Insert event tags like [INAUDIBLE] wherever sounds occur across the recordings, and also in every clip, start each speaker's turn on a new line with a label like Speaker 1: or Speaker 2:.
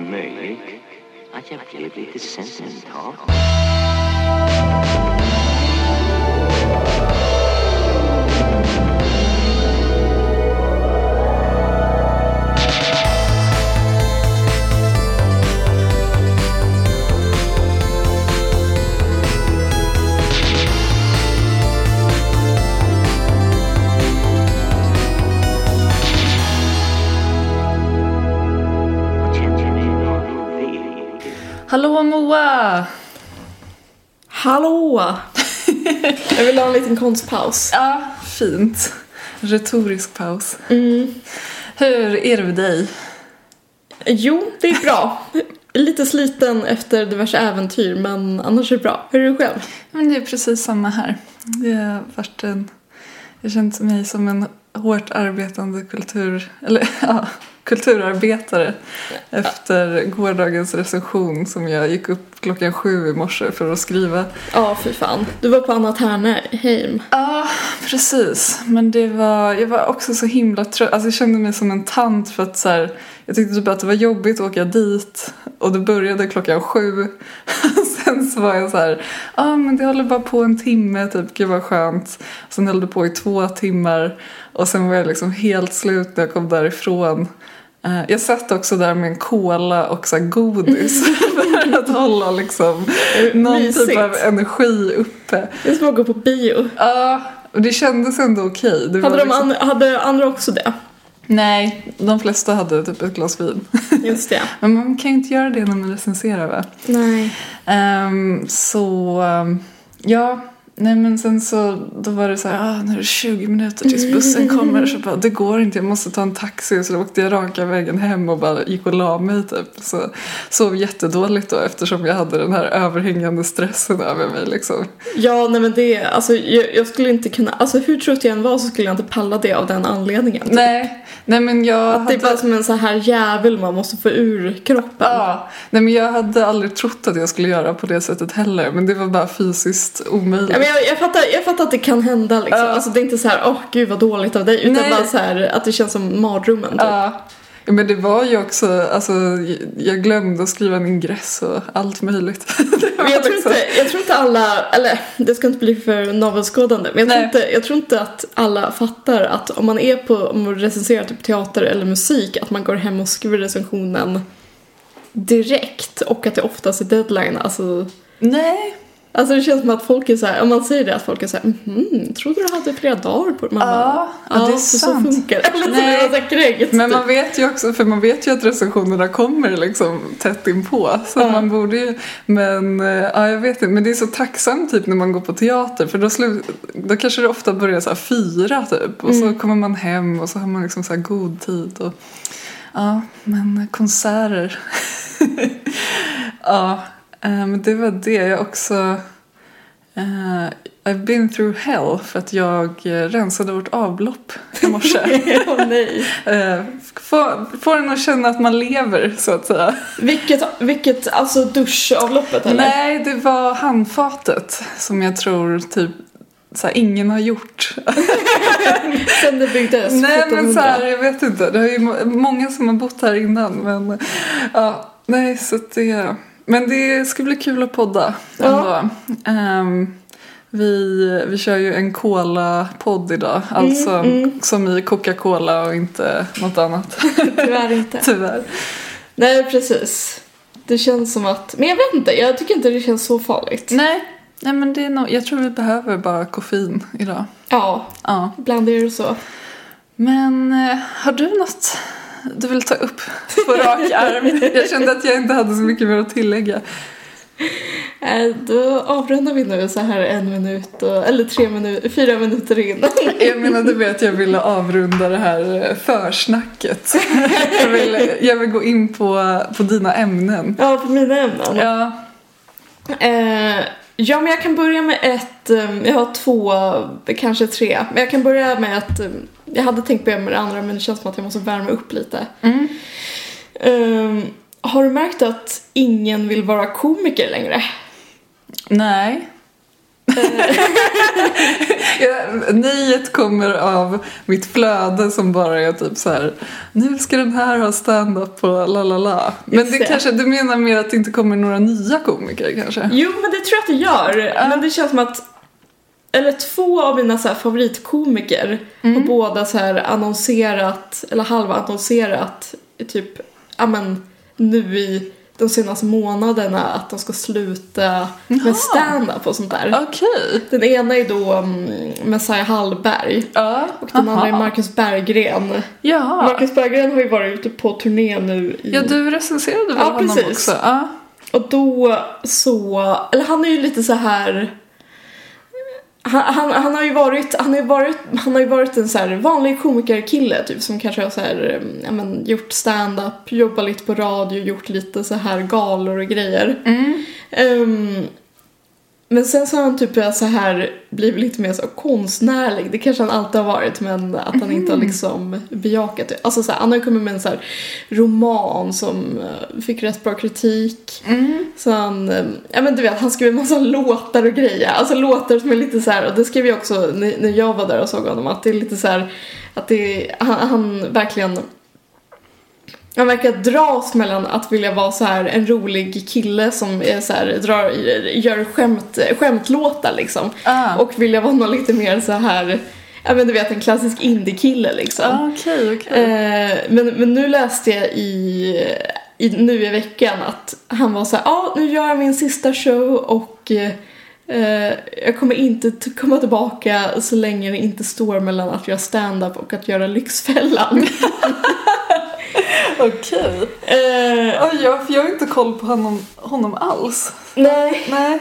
Speaker 1: möjligt att jag blev lite sentimental. Och kände mig avig.
Speaker 2: Hallå Moa!
Speaker 3: Hallå! [LAUGHS] jag vill ha en liten konstpaus.
Speaker 2: Ja. Fint. Retorisk paus.
Speaker 3: Mm.
Speaker 2: Hur är det med dig?
Speaker 3: Jo, det är bra. Lite sliten efter diverse äventyr, men annars är det bra. Hur är det själv?
Speaker 2: Men det är precis samma här. Det har varit en... Jag har känt mig som en hårt arbetande kultur... Eller [LAUGHS] ja, kulturarbetare efter gårdagens recension som jag gick upp klockan sju i morse för att skriva.
Speaker 3: Ja, fy fan. Du var på Anna Ternheim.
Speaker 2: Ja, precis. Men det var, jag var också så himla trött. Alltså jag kände mig som en tant för att så här, jag tyckte typ att det var jobbigt att åka dit och det började klockan sju. [LAUGHS] Sen så var jag så här, ja ah, men det håller bara på en timme typ, gud vad skönt. Sen höll det på i två timmar och sen var jag liksom helt slut när jag kom därifrån. Eh, Jag satt också där med en cola och så här godis [LAUGHS] för att hålla liksom någon typ
Speaker 3: Mysigt.
Speaker 2: av energi uppe.
Speaker 3: Det är som att gå på bio.
Speaker 2: Ja, och det kändes ändå okej. Det var
Speaker 3: Hade, de
Speaker 2: liksom-
Speaker 3: an- hade andra också det?
Speaker 2: Nej, de flesta hade typ ett glas vin. [LAUGHS]
Speaker 3: Just det.
Speaker 2: Men man kan ju inte göra det när man recenserar va?
Speaker 3: [LAUGHS] Nej.
Speaker 2: Ehm, så, ehm, ja. Nej men sen så, då var det så här, ah, nu är det 20 minuter tills bussen kommer. Så bara, det går inte, jag måste ta en taxi. Så då åkte jag raka vägen hem och bara gick och la mig typ. Så sov jättedåligt då eftersom jag hade den här överhängande stressen över mig liksom.
Speaker 3: Ja, nej men det, alltså jag, jag skulle inte kunna, alltså hur trött jag än var så skulle jag inte palla det av den anledningen.
Speaker 2: Nej, nej men jag
Speaker 3: Att det är bara som en så här djävul man måste få ur kroppen.
Speaker 2: Ja, nej men jag hade aldrig trott att jag skulle göra på det sättet heller men det var bara fysiskt omöjligt.
Speaker 3: Ja, men jag, jag, fattar, jag fattar att det kan hända liksom.
Speaker 2: Ja.
Speaker 3: Alltså det är inte så här, åh gud vad dåligt av dig. Utan
Speaker 2: Nej.
Speaker 3: bara så här att det känns som mardrömmen typ.
Speaker 2: Ja. Ja, men det var ju också, alltså jag glömde att skriva en ingress och allt möjligt. [LAUGHS] Det var
Speaker 3: Men jag, tror
Speaker 2: liksom-
Speaker 3: inte, jag tror inte alla, eller det ska inte bli för navelskådande, men jag tror,
Speaker 2: Nej.
Speaker 3: inte, jag tror inte att alla fattar att om man är på, om man recenserar typ teater eller musik, att man går hem och skriver recensionen direkt och att det oftast är deadline. Alltså,
Speaker 2: Nej.
Speaker 3: alltså det känns som att folk är så här, om man säger det att folk är så här, mhm, trodde du hade flera dagar på dig? Man bara,
Speaker 2: Ja, ja, det är
Speaker 3: så, så
Speaker 2: sant.
Speaker 3: funkar
Speaker 2: [LAUGHS]
Speaker 3: det. Eller så
Speaker 2: Nej.
Speaker 3: blir man så här kränkt,
Speaker 2: Men
Speaker 3: typ.
Speaker 2: man vet ju också, för man vet ju att recensionerna kommer liksom tätt inpå. Så
Speaker 3: Ja.
Speaker 2: man borde ju, men eh, ja jag vet inte, men det är så tacksamt typ när man går på teater för då, slu, då kanske det ofta börjar så här fyra typ och så kommer man hem och så har man liksom så här god tid och ja, men konserter. [LAUGHS] ja, eh, men det var det jag också eh, I've been through hell för att jag eh, rensade vårt avlopp i morse. [LAUGHS]
Speaker 3: Åh, nej.
Speaker 2: Eh, få, få den att känna att man lever, så att säga.
Speaker 3: Vilket, vilket, alltså duschavloppet eller?
Speaker 2: Nej, det var handfatet som jag tror typ så här, ingen har gjort.
Speaker 3: Sen det byggdes
Speaker 2: Nej,
Speaker 3: 1700.
Speaker 2: men så här, jag vet inte. Det är ju må- många som har bott här innan, men eh, ja, nej, så att det... Men det ska bli kul att podda
Speaker 3: Ja.
Speaker 2: ändå. Ehm, vi, vi kör ju en cola-podd idag, alltså
Speaker 3: Mm,
Speaker 2: som i Coca-Cola och inte något annat, [LAUGHS]
Speaker 3: Tyvärr inte.
Speaker 2: tyvärr.
Speaker 3: Nej, precis. Det känns som att... Men jag vet inte, jag tycker inte det känns så farligt.
Speaker 2: Nej, nej men det är nog, jag tror vi behöver bara koffein idag.
Speaker 3: Ja,
Speaker 2: Ja.
Speaker 3: ibland är det så.
Speaker 2: Men eh, har du något du vill ta upp på rak arm? Jag kände att jag inte hade så mycket mer att tillägga.
Speaker 3: Äh, Då avrundar vi nu så här en minut, och, eller tre minuter, fyra minuter in. [LAUGHS]
Speaker 2: Jag menar, du vet, jag ville avrunda det här eh, försnacket. Jag vill, jag vill gå in på, på dina ämnen.
Speaker 3: Ja, på mina ämnen. Ja.
Speaker 2: Ja,
Speaker 3: ja, men jag kan börja med ett... eh, Jag har två, kanske tre. Men jag kan börja med ett... eh, Jag hade tänkt börja med det andra, men det känns som att jag måste värma upp lite.
Speaker 2: Mm.
Speaker 3: Eh,
Speaker 2: Ehm,
Speaker 3: har du märkt att ingen vill vara komiker längre?
Speaker 2: nej. [LAUGHS] Ja, Nejet kommer av mitt flöde som bara är typ så här. Nu ska den här ha stand-up på la la la. Men
Speaker 3: Just
Speaker 2: det
Speaker 3: det.
Speaker 2: kanske, du menar mer att det inte kommer några nya komiker kanske?
Speaker 3: Jo, men det tror jag att det gör. Men det känns som att eller två av mina så här favoritkomiker
Speaker 2: Mm.
Speaker 3: har båda så här annonserat, eller halvannonserat, i typ, ja men nu i de senaste månaderna att de ska sluta
Speaker 2: Jaha.
Speaker 3: med stand-up och sånt där.
Speaker 2: Okej.
Speaker 3: Den ena är då mm, Messiah Hallberg
Speaker 2: Ja.
Speaker 3: och den
Speaker 2: aha.
Speaker 3: andra är Marcus Berggren.
Speaker 2: Ja.
Speaker 3: Marcus Berggren har ju varit ute på turné nu i
Speaker 2: ja, du recenserade väl
Speaker 3: Ja,
Speaker 2: honom
Speaker 3: precis.
Speaker 2: också? Ja,
Speaker 3: Och då så, eller han är ju lite så här han, han, han har ju varit, han har ju varit, han har ju varit en så här vanlig komikerkille typ som kanske har så här, eh, ja, men, gjort stand-up, jobbat lite på radio, gjort lite så här galor och grejer.
Speaker 2: Mm,
Speaker 3: Ehm, men sen så har han typ börjat så här blivit lite mer så konstnärlig. Det kanske han alltid har varit men att han inte har liksom bejakat det. Alltså så här, han har ju kommit med en så här roman som eh, fick rätt bra kritik.
Speaker 2: mm.
Speaker 3: Så han, eh, ja men du vet, han skrev en massa låtar och grejer. Alltså låtar som är lite så här, och det skrev jag också när när jag var där och såg honom, att det är lite så här, att det är, han, han verkligen han verkar dras mellan att vilja vara så här en rolig kille som är så här, drar, gör skämt, skämtlåtar liksom.
Speaker 2: Ah.
Speaker 3: Och vilja vara någon lite mer så här, ja men du vet en klassisk indie-kille liksom.
Speaker 2: Ah, okej, okej.
Speaker 3: Eh, men, men nu läste jag i, i, nu i veckan att han var så här, ja nu gör jag min sista show och eh, eh, jag kommer inte t- komma tillbaka så länge det inte står mellan att göra stand-up och att göra [LAUGHS] Lyxfällan.
Speaker 2: Okej.
Speaker 3: eh,
Speaker 2: Ja, jag, för jag har inte koll på honom, honom alls.
Speaker 3: nej.
Speaker 2: Nej.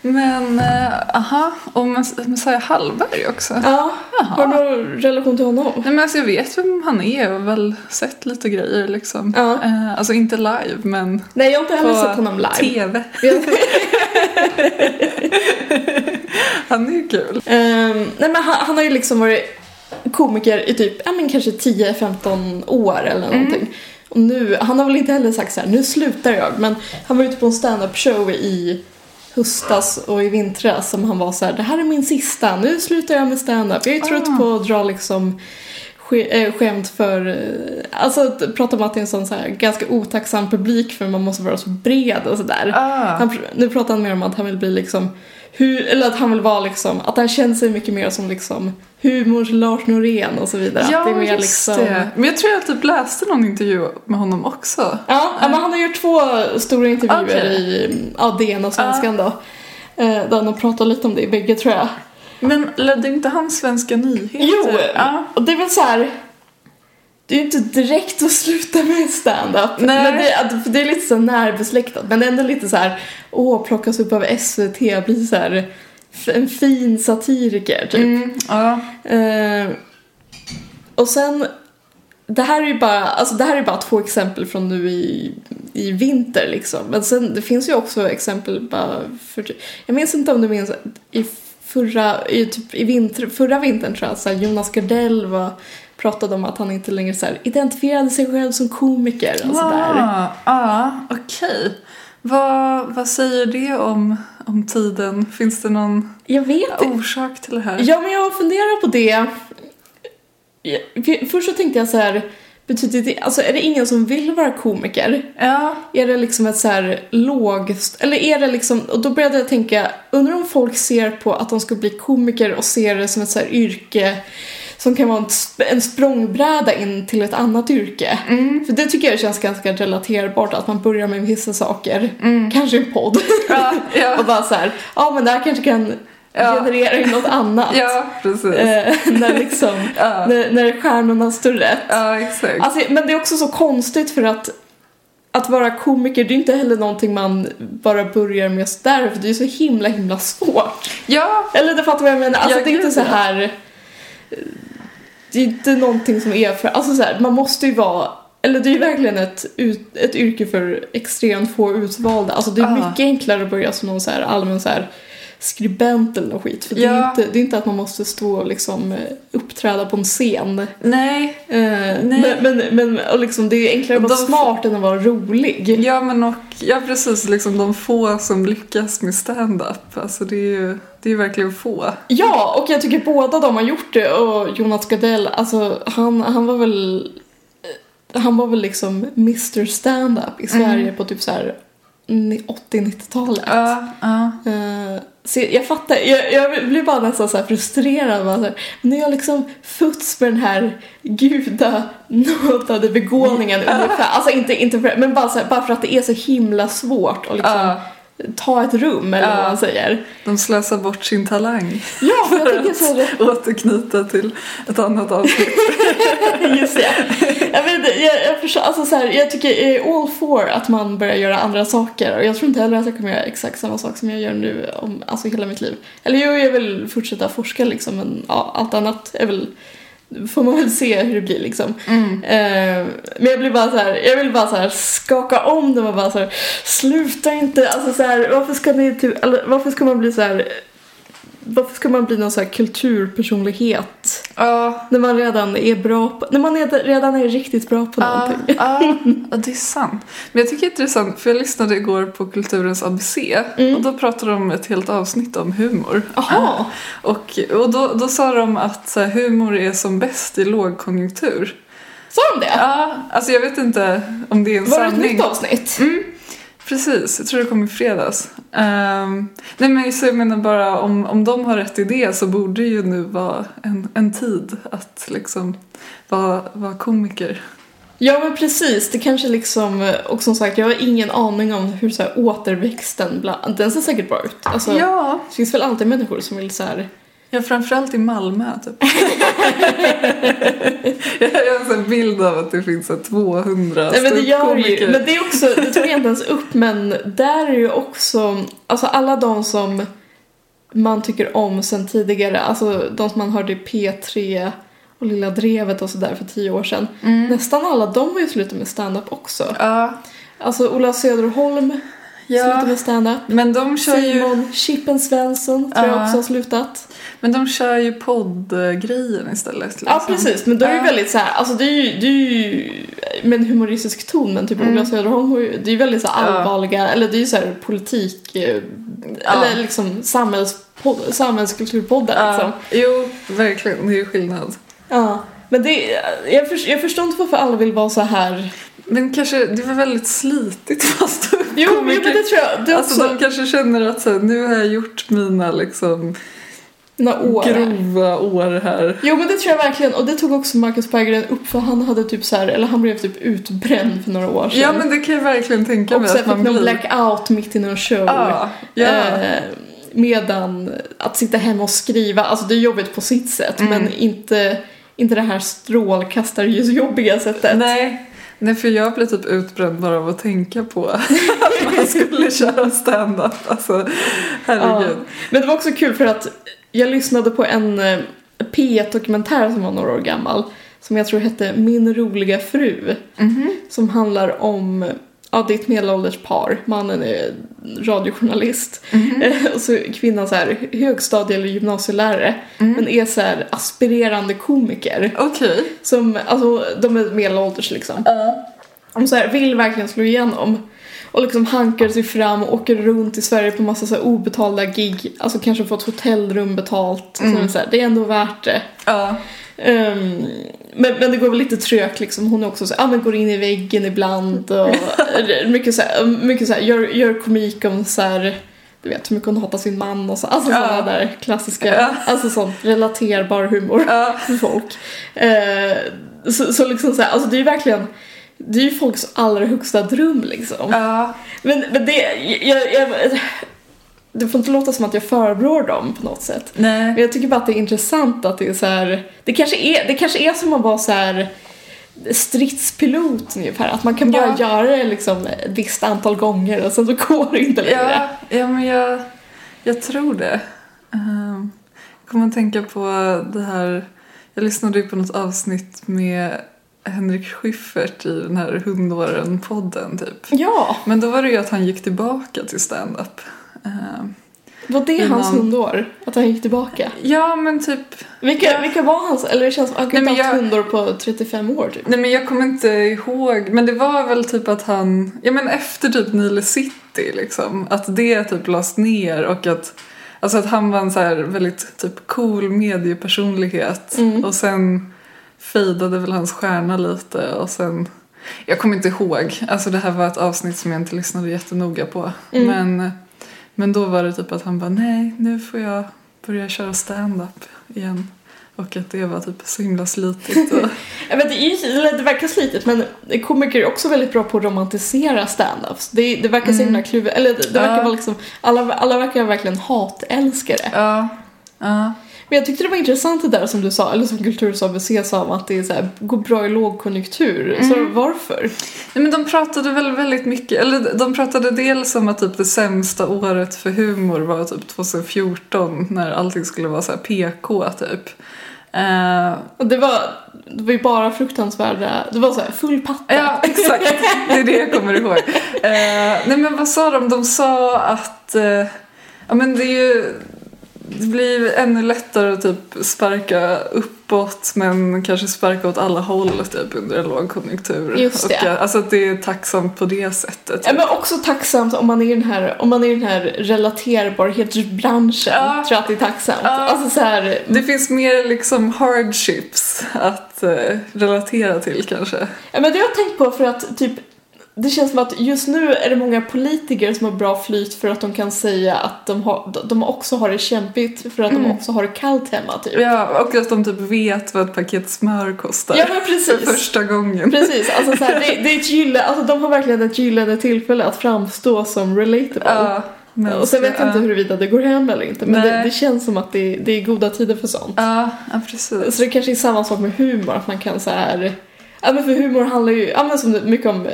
Speaker 2: Men, eh, aha. Och Mess- Messiah Hallberg också.
Speaker 3: Ja, har du någon relation till honom?
Speaker 2: Nej men alltså jag vet vem han är och väl sett lite grejer liksom.
Speaker 3: Ja.
Speaker 2: Eh, alltså inte live men
Speaker 3: Nej, jag har inte heller
Speaker 2: på
Speaker 3: sett honom live.
Speaker 2: TV. Han är ju kul.
Speaker 3: Ehm, nej, men han, han har ju liksom varit komiker i typ, ja men kanske 10-15 år eller
Speaker 2: Mm.
Speaker 3: någonting. Och nu, han har väl inte heller sagt så här, nu slutar jag, men han var ute på en stand-up show i höstas och i vintras som han var så här, det här är min sista, nu slutar jag med stand-up. Jag är trött
Speaker 2: Ah.
Speaker 3: på att dra liksom ske- eh, skämt för, eh, alltså att prata om att det är en sån så här ganska otacksam publik för man måste vara så bred och sådär.
Speaker 2: Ah.
Speaker 3: Han, pr- nu pratar han mer om att han vill bli liksom hur, eller att han vill vara liksom, att han känner sig mycket mer som liksom humors Lars Norén och så vidare. att det är mer liksom,
Speaker 2: Men jag tror jag typ läste någon intervju med honom också.
Speaker 3: Ja, ja, men han har gjort två stora intervjuer
Speaker 2: Okej.
Speaker 3: i ja, DN och Svenskan då. Eh, Där han har pratat lite om det i bägge tror jag.
Speaker 2: Men ledde inte han Svenska nyheter?
Speaker 3: Jo!
Speaker 2: Ja.
Speaker 3: Och det är väl så här. Det är ju inte direkt att sluta med stand-up.
Speaker 2: Nej.
Speaker 3: Men det, att- för det är lite så närbesläktat. Men ändå lite så här. Åh, plockas upp av SVT. Blir så här f- en fin satiriker typ.
Speaker 2: Mm, ja.
Speaker 3: Eh, och sen, det här är ju bara, alltså det här är bara två exempel från nu i, i vinter liksom. Men sen, det finns ju också exempel bara för, jag minns inte om du minns i förra, i typ i vinter, förra vintern tror jag, så här, Jonas Gardell var, pratade om att han inte längre så här, identifierade sig själv som komiker och sådär.
Speaker 2: Ah, ah, okej. Vad, vad säger det om, om tiden? Finns det någon
Speaker 3: Jag vet inte.
Speaker 2: orsak till det här?
Speaker 3: Ja, men jag funderar på det. Ja, för- Först så tänkte jag så här, betyder det, alltså är det ingen som vill vara komiker?
Speaker 2: Ja.
Speaker 3: Är det liksom ett så här låg... Eller är det liksom... Och då började jag tänka, undrar om folk ser på att de ska bli komiker och ser det som ett så här yrke som kan vara en, sp- en språngbräda in till ett annat yrke.
Speaker 2: Mm.
Speaker 3: För det tycker jag känns ganska relaterbart, att man börjar med vissa saker, kanske en podd,
Speaker 2: Mm. Ja, ja.
Speaker 3: [LAUGHS] och bara så här, ja men det här kanske kan
Speaker 2: Ja.
Speaker 3: generera in något annat.
Speaker 2: Ja, precis.
Speaker 3: Eh, [LAUGHS] när liksom,
Speaker 2: Ja.
Speaker 3: när, när stjärnorna står rätt.
Speaker 2: Ja, exakt.
Speaker 3: Alltså, men det är också så konstigt för att att vara komiker, det är inte heller någonting man bara börjar med sådär för det är så himla himla svårt.
Speaker 2: ja,
Speaker 3: Eller du fattar vad jag menar? Alltså
Speaker 2: Ja,
Speaker 3: det är inte
Speaker 2: gud,
Speaker 3: så
Speaker 2: ja.
Speaker 3: här eh, det är inte någonting som är för, alltså så här, man måste ju vara eller det är ju verkligen ett, ut- ett yrke för extremt få utvalda. Alltså det är
Speaker 2: Ja.
Speaker 3: mycket enklare att börja som någon så här allmän så här skribent eller något skit. För det, är ju
Speaker 2: Ja.
Speaker 3: inte, det är inte att man måste stå och liksom eh, uppträda på en scen. Eh,
Speaker 2: Nej,
Speaker 3: men, Eh, men, men och liksom, det är ju enklare att vara
Speaker 2: De-
Speaker 3: smart än att vara rolig.
Speaker 2: ja men och, ja precis liksom de få som lyckas med stand-up. Alltså det är ju, det är ju verkligen få.
Speaker 3: Ja, och jag tycker båda de har gjort det och Jonas Gardell, alltså han, han var väl eh, han var väl liksom Mr Stand-Up i Sverige på typ så här ni- 80-90-talet.
Speaker 2: Mm. Ja, ja.
Speaker 3: Eh, så jag, jag fattar, jag, jag blir bara nästan så här frustrerad. Bara så här, nu är jag liksom futs med den här gudanådade begåvningen ungefär. Alltså inte, inte för, men bara, så här, bara för att det är så himla svårt att liksom
Speaker 2: Ja.
Speaker 3: ta ett rum eller vad
Speaker 2: Ja.
Speaker 3: man säger.
Speaker 2: De slösar bort sin talang. [LAUGHS]
Speaker 3: Ja, jag tycker så [LAUGHS] här,
Speaker 2: Återknyta till ett annat avsnitt.
Speaker 3: [LAUGHS] Just det. Jag, vet, inte, jag, jag, förstår, alltså så här, jag tycker jag är all for att man börjar göra andra saker och jag tror inte heller att jag kommer göra exakt samma sak som jag gör nu om, alltså hela mitt liv. Eller jo, jag vill fortsätta forska liksom men ja, allt annat är väl får man väl se hur det blir liksom.
Speaker 2: Mm.
Speaker 3: Eh, men jag blir bara så här, jag vill bara så här skaka om dem och bara så här, sluta inte, alltså så här, varför ska ni typ, eller varför ska man bli så här varför ska man bli någon så här kulturpersonlighet?
Speaker 2: Ja,
Speaker 3: När man redan är bra på, när man är, redan är riktigt bra på
Speaker 2: ja,
Speaker 3: någonting.
Speaker 2: ja, ja, det är sant. Men jag tycker det är intressant, för jag lyssnade igår på Kulturens ABC och då pratade de om ett helt avsnitt om humor.
Speaker 3: Mm. Jaha.
Speaker 2: Och, och då, då sa de att så här, humor är som bäst i lågkonjunktur.
Speaker 3: Sa de det?
Speaker 2: Ja, alltså jag vet inte om det är en
Speaker 3: Var det ett
Speaker 2: sanning.
Speaker 3: nytt avsnitt?
Speaker 2: Precis, jag tror det kom i fredags. Ehm, nej men så jag menar bara om, om de har rätt idé så borde det ju nu vara en, en tid att liksom vara, vara komiker.
Speaker 3: Ja men precis, det kanske liksom, och som sagt jag har ingen aning om hur så här, återväxten bland, den ser säkert bra ut. Alltså,
Speaker 2: Ja,
Speaker 3: Det finns väl alltid människor som vill så här.
Speaker 2: ja framförallt i Malmö typ. [LAUGHS] jag har en sån här bild av att det finns så här 200
Speaker 3: Nej men det gör ju,
Speaker 2: ståuppkomiker.
Speaker 3: men det är också, det tog jag inte ens upp men där är ju också, alltså alla de som man tycker om sen tidigare, alltså de som man hörde i P3 och Lilla Drevet och sådär för tio år sedan.
Speaker 2: Mm.
Speaker 3: Nästan alla de har ju slutat med stand-up också.
Speaker 2: Ja,
Speaker 3: Alltså Ola Söderholm
Speaker 2: Ja.
Speaker 3: slutade med stand-up.
Speaker 2: men de kör ju,
Speaker 3: Simon Chippen Svensson tror jag
Speaker 2: Ja.
Speaker 3: också har slutat.
Speaker 2: men de kör ju poddgrejen istället.
Speaker 3: Ja
Speaker 2: liksom.
Speaker 3: precis, men då är det
Speaker 2: Ja.
Speaker 3: väldigt så här, alltså det är ju, det är ju med en humoristisk ton men typ Ola Söderholm har ju- det är ju väldigt så här
Speaker 2: Mm. Ja.
Speaker 3: allvarliga, eller det är ju så här politik, eh,
Speaker 2: Ja.
Speaker 3: eller liksom samhällspodd, samhällskulturpoddar liksom.
Speaker 2: Ja, jo, verkligen. Det är ju skillnad.
Speaker 3: Ja. Men det, jag, för, jag förstår inte varför alla vill vara så här.
Speaker 2: Men kanske, det var väldigt slitigt [LAUGHS] fast
Speaker 3: Jo, jo, men det tror jag. Det är
Speaker 2: Alltså
Speaker 3: också
Speaker 2: de kanske känner att så här, nu har jag gjort mina liksom
Speaker 3: några år.
Speaker 2: grova år här.
Speaker 3: Jo men det tror jag verkligen och det tog också Marcus Berggren upp för han hade typ så här, eller han blev typ utbränd för några år sedan.
Speaker 2: Ja men det kan jag verkligen tänka
Speaker 3: och
Speaker 2: mig
Speaker 3: sen
Speaker 2: att
Speaker 3: fick
Speaker 2: man blir.
Speaker 3: någon blackout mitt i någon show.
Speaker 2: ja, ja.
Speaker 3: Eh, medan att sitta hemma och skriva, alltså det är jobbigt på sitt sätt
Speaker 2: Mm.
Speaker 3: men inte, inte det här strålkastarljusjobbiga sättet.
Speaker 2: nej. nej, för jag blev typ utbränd bara av att tänka på [LAUGHS] att man skulle köra stand-up. Alltså,
Speaker 3: Ja.
Speaker 2: herregud.
Speaker 3: Men det var också kul för att jag lyssnade på en eh, P1-dokumentär som var några år gammal som jag tror hette Min roliga fru.
Speaker 2: Mhm.
Speaker 3: Som handlar om ja, det är ett medelålders par. Mannen är radiojournalist.
Speaker 2: Mm-hmm.
Speaker 3: Eh, Och så är kvinnan så här högstadie eller gymnasielärare.
Speaker 2: Mm.
Speaker 3: Men är så här aspirerande komiker.
Speaker 2: Okej.
Speaker 3: Som, alltså, de är medelålders liksom. De så här, vill verkligen slå igenom. Och liksom hankar sig fram och åker runt i Sverige på massa så här obetalda gig. Alltså kanske fått hotellrum betalt.
Speaker 2: Mm.
Speaker 3: Så det, är så här, det är ändå värt det.
Speaker 2: Ja.
Speaker 3: Ehm, men, men det går väl lite trögt liksom. Hon är också så här, ah, men går in i väggen
Speaker 2: [LAUGHS]
Speaker 3: ibland. Och mycket så här, mycket så här gör, gör komik om så här, du vet hur mycket hon hatar sin man och så. Alltså
Speaker 2: Ja.
Speaker 3: sådana där klassiska,
Speaker 2: Ja.
Speaker 3: alltså sån relaterbar humor
Speaker 2: Ja.
Speaker 3: för folk. Eh, så, så liksom så här, alltså det är ju verkligen det är ju folks allra högsta dröm liksom.
Speaker 2: Ja.
Speaker 3: Men, men det, jag, jag, det får inte låta som att jag förebrår dem på något sätt. Men
Speaker 2: Nej.
Speaker 3: jag tycker bara att det är intressant att det är så här, det kanske är, det kanske är som att vara så här stridspilot ungefär, att man kan bara
Speaker 2: Ja.
Speaker 3: göra det liksom ett visst antal gånger och sen så [LAUGHS] går det inte längre.
Speaker 2: Ja, ja men jag, jag tror det. Ehm, Jag kommer att tänka på det här, jag lyssnade ju på något avsnitt med Henrik Schyffert i den här hundåren-podden typ.
Speaker 3: Ja,
Speaker 2: Men då var det ju att han gick tillbaka till stand-up. Ehm,
Speaker 3: Var det
Speaker 2: Innan-
Speaker 3: hans hundår? Att han gick tillbaka?
Speaker 2: Ja, men typ...
Speaker 3: Vilka, vilka var hans? Eller det känns som att han
Speaker 2: Nej,
Speaker 3: inte
Speaker 2: men
Speaker 3: haft
Speaker 2: jag-
Speaker 3: hundår på 35 år typ.
Speaker 2: Nej, men jag kommer inte ihåg. Men det var väl typ att han... Ja, men efter typ Nile City, liksom. Att det typ lades ner och att... Alltså att han var en så här väldigt typ cool mediepersonlighet. Och sen fejdade väl hans stjärna lite och sen... Jag kommer inte ihåg. Alltså det här var ett avsnitt som jag inte lyssnade jättenoga på. Men, men då var det typ att han bara nej, nu får jag börja köra stand-up igen. Och att det var typ så himla slitigt. Och...
Speaker 3: Jag vet, det, är ju- eller det verkar slitigt men komiker är också väldigt bra på att romantisera stand-ups. Det, det verkar så himla kluvet. Eller det, det verkar
Speaker 2: Ja.
Speaker 3: vara liksom, alla, alla verkar verkligen hatälskare.
Speaker 2: Ja. Ja.
Speaker 3: Men jag tyckte det var intressant det där som du sa, eller som Kulturs ABC sa om att det är så här, går bra i lågkonjunktur. Så varför?
Speaker 2: Nej, men de pratade väl väldigt mycket, eller de pratade dels om att typ det sämsta året för humor var typ 2014 när allting skulle vara så här PK typ. Eh,
Speaker 3: Och det var, det var ju bara fruktansvärda, det var så här full patta.
Speaker 2: ja, exakt. Det är det jag kommer ihåg. Eh, nej, men vad sa de? De sa att eh, ja, men det är ju det blir ännu lättare att typ sparka uppåt men kanske sparka åt alla håll typ under en lågkonjunktur.
Speaker 3: Just det.
Speaker 2: Och, eh, alltså att det är tacksamt på det sättet.
Speaker 3: Ja, men också tacksamt om man är i den här, om man är i den här relaterbarhetsbranschen.
Speaker 2: Ja.
Speaker 3: Tror jag att det är tacksamt.
Speaker 2: Ja.
Speaker 3: Alltså så här,
Speaker 2: Det finns mer liksom hardships att eh, relatera till kanske.
Speaker 3: ja, men det har jag tänkt på för att typ det känns som att just nu är det många politiker som har bra flyt för att de kan säga att de, har, de också har det kämpigt för att de också har det kallt hemma typ.
Speaker 2: Mm. Ja, och att de typ vet vad ett paket smör kostar.
Speaker 3: Ja, men precis.
Speaker 2: För första gången.
Speaker 3: Precis, alltså så här, det, det är ett gyllene, alltså de har verkligen ett gyllene tillfälle att framstå som relatable.
Speaker 2: Ja, men-
Speaker 3: och sen vet jag inte
Speaker 2: ja.
Speaker 3: huruvida det går hem eller inte, men det,
Speaker 2: Nej.
Speaker 3: det känns som att det, det är goda tider för sånt.
Speaker 2: Ja, ja precis.
Speaker 3: Så det kanske är samma sak med humor, att man kan så här... Ja men för humor handlar ju, ja men som det- mycket om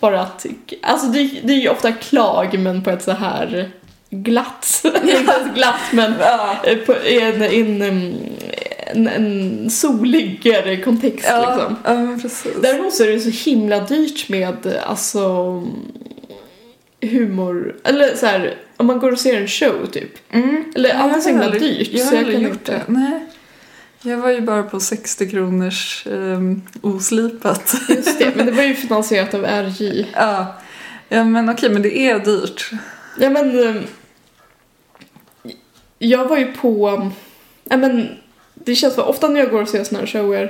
Speaker 3: bara att, alltså det, det är ju ofta klag men på ett så här glatt, [LAUGHS] inte ens glatt men eh, på, i en, i en, mm, en, en soligare kontext liksom.
Speaker 2: Ja, ja, men precis.
Speaker 3: Däremot så är det ju så himla dyrt med alltså humor, eller så här, om man går och ser en show typ. Eller allt är så himla dyrt
Speaker 2: Jag har
Speaker 3: så jag
Speaker 2: Mm. aldrig
Speaker 3: kan
Speaker 2: gjort
Speaker 3: inte.
Speaker 2: det. Nej. Jag var ju bara på 60 kronors ehm, oslipat. [LAUGHS]
Speaker 3: Just det, men det var ju finansierat av RJ.
Speaker 2: ja. ja, men okej, men det är dyrt.
Speaker 3: Ja men... ehm, Jag var ju på... ehm, Ja men... Det känns som ofta när jag går och ser såna här shower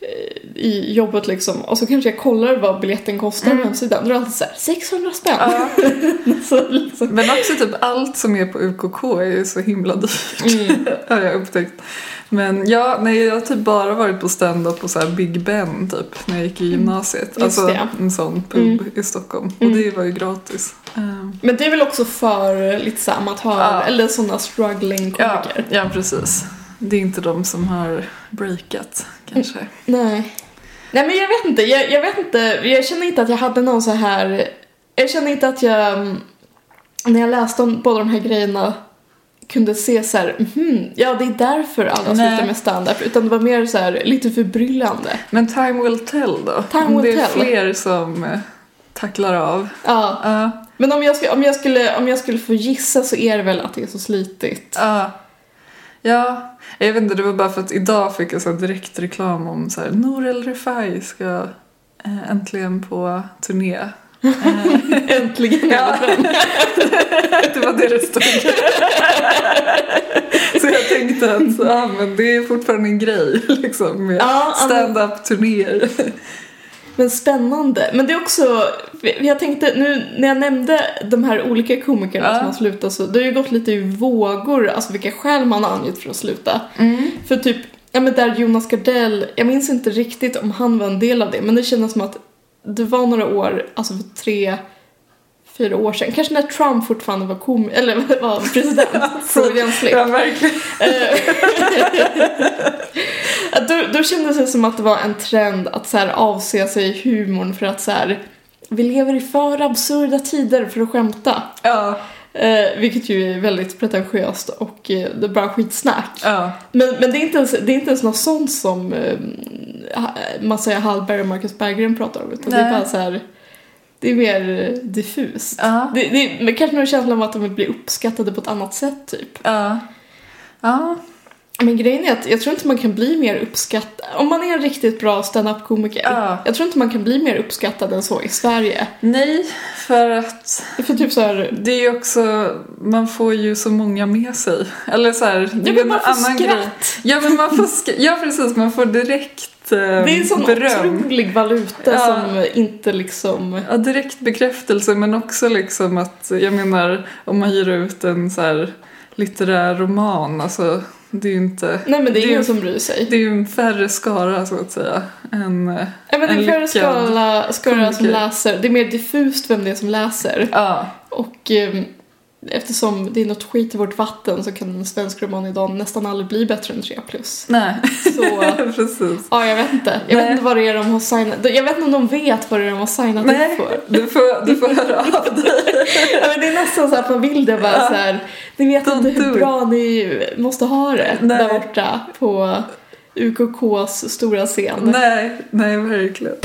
Speaker 3: eh, i jobbet liksom och så kanske jag kollar vad biljetten kostar på hemsidan. Då är det alltid såhär 600 spänn.
Speaker 2: Mm. Ja.
Speaker 3: [LAUGHS] så liksom.
Speaker 2: Men också typ allt som är på UKK är ju så himla dyrt. [LAUGHS] har jag upptäckt. Men ja, nej, jag har typ bara varit på stand-up på så här Big Ben typ när jag gick i gymnasiet. alltså
Speaker 3: Mm. det. Mm.
Speaker 2: en sån pub i Stockholm. Och det var ju gratis. Ehm,
Speaker 3: Men det är väl också för lite såhär amatör
Speaker 2: Ja.
Speaker 3: eller såna struggling
Speaker 2: ja,
Speaker 3: komiker.
Speaker 2: ja, precis. Det är inte de som har breakat
Speaker 3: Mm.
Speaker 2: kanske.
Speaker 3: Nej. Nej men jag vet inte, jag, jag vet inte, jag känner inte att jag hade någon så här, jag känner inte att jag, mm, när jag läste om båda de här grejerna kunde se så här, mhm, ja det är därför alla
Speaker 2: Nej.
Speaker 3: slutar med stand-up utan det var mer så här lite förbryllande.
Speaker 2: Men time will tell då.
Speaker 3: Time
Speaker 2: Om
Speaker 3: will
Speaker 2: det är
Speaker 3: tell.
Speaker 2: fler som eh, tacklar av.
Speaker 3: Ja.
Speaker 2: Ja,
Speaker 3: Men om jag, skulle, om, jag skulle, om jag skulle få gissa så är det väl att det är så slitigt.
Speaker 2: Ja. Ja, jag vet inte, det var bara för att idag fick jag så här direkt reklam om så här, Norel Refai ska eh, äntligen på turné. Eh,
Speaker 3: Äntligen!
Speaker 2: Ja. [LAUGHS] det var det det stod. så jag tänkte att ja, men det är fortfarande en grej liksom, med
Speaker 3: Ja, ja, men-
Speaker 2: stand-up-turnéer.
Speaker 3: Men spännande. Men det är också, jag tänkte nu när jag nämnde de här olika komikerna
Speaker 2: Ja.
Speaker 3: som har slutat så det har ju gått lite i vågor, alltså vilka skäl man har angett för att sluta. För typ, ja men där Jonas Gardell, jag minns inte riktigt om han var en del av det, men det kändes som att det var några år, alltså för tre, fyra år sedan, kanske när Trump fortfarande var kom eller [LAUGHS] var president, Freudian slip.
Speaker 2: Ja, verkligen.
Speaker 3: Att Eh. [LAUGHS] Då, då kändes det som att det var en trend att så här avse sig i humorn för att så här, vi lever i för absurda tider för att skämta.
Speaker 2: Ja,
Speaker 3: Eh, vilket ju är väldigt pretentiöst och eh, det är bara skitsnack.
Speaker 2: ja.
Speaker 3: Men, men det, är inte ens, det är inte ens något sånt som eh, ha- Messiah Hallberg och Marcus Berggren pratar om utan det är
Speaker 2: Nej.
Speaker 3: bara så här. Det är mer diffust.
Speaker 2: Ja.
Speaker 3: Det, det är men kanske någon känsla av att de vill bli uppskattade på ett annat sätt typ.
Speaker 2: Ja. Ja.
Speaker 3: Men grejen är att jag tror inte man kan bli mer uppskattad. Om man är en riktigt bra standup-komiker.
Speaker 2: Ja.
Speaker 3: Jag tror inte man kan bli mer uppskattad än så i Sverige.
Speaker 2: Nej, för att
Speaker 3: För typ så här,
Speaker 2: det är ju också, man får ju så många med sig. Eller så här, det
Speaker 3: men
Speaker 2: är en
Speaker 3: man får
Speaker 2: annan
Speaker 3: skratt.
Speaker 2: grej. Ja, men man får sk- ja, precis, man får direkt eh,
Speaker 3: det är en sån
Speaker 2: beröm.
Speaker 3: otrolig valuta
Speaker 2: Ja.
Speaker 3: som inte liksom...
Speaker 2: Ja, direkt bekräftelse men också liksom att, jag menar om man ger ut en så här litterär roman, alltså det är ju inte...
Speaker 3: Nej men det är
Speaker 2: ju-
Speaker 3: ingen som bryr sig.
Speaker 2: Det är ju en färre skara så att säga än... eh,
Speaker 3: Nej men det
Speaker 2: en
Speaker 3: är färre
Speaker 2: lyckad
Speaker 3: skala, skala som
Speaker 2: komiker.
Speaker 3: läser. Det är mer diffust vem det är som läser.
Speaker 2: Ja,
Speaker 3: Och ehm, eftersom det är något skit i vårt vatten så kan en svensk roman idag nästan aldrig bli bättre än 3 plus.
Speaker 2: nej, [LAUGHS]
Speaker 3: Så
Speaker 2: precis.
Speaker 3: ja, jag vet inte. Jag
Speaker 2: Nej.
Speaker 3: vet inte vad det är de har signat. Jag vet inte om de vet vad det är de har signat upp
Speaker 2: Nej,
Speaker 3: för.
Speaker 2: [LAUGHS] du får, du får höra av dig.
Speaker 3: Ja, men det är nästan så att man vill det bara så här. Ni vet
Speaker 2: Don't
Speaker 3: inte
Speaker 2: do
Speaker 3: hur
Speaker 2: it."
Speaker 3: bra ni måste ha det
Speaker 2: Nej.
Speaker 3: där borta på UKKs stora scen.
Speaker 2: Nej, nej verkligen.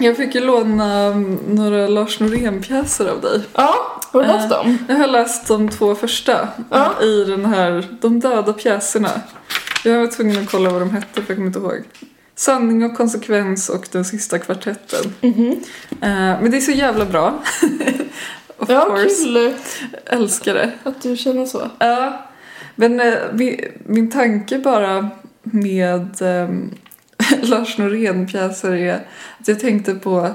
Speaker 2: Jag fick ju låna mm, några Lars Norén-pjäser av dig.
Speaker 3: Ja, har du
Speaker 2: Eh,
Speaker 3: läst dem?
Speaker 2: Jag har läst de två första
Speaker 3: Ja.
Speaker 2: i den här De döda pjäserna. Jag var tvungen att kolla vad de hette för jag kommer inte ihåg. Sanning och konsekvens och Den sista kvartetten.
Speaker 3: Mhm.
Speaker 2: Eh, men det är så jävla bra. [LAUGHS] of
Speaker 3: Ja,
Speaker 2: course.
Speaker 3: kul
Speaker 2: Älskar det.
Speaker 3: att du känner så.
Speaker 2: Ja, men eh, min, min tanke bara med ehm, [LAUGHS] Lars Norén-pjäser är att jag tänkte på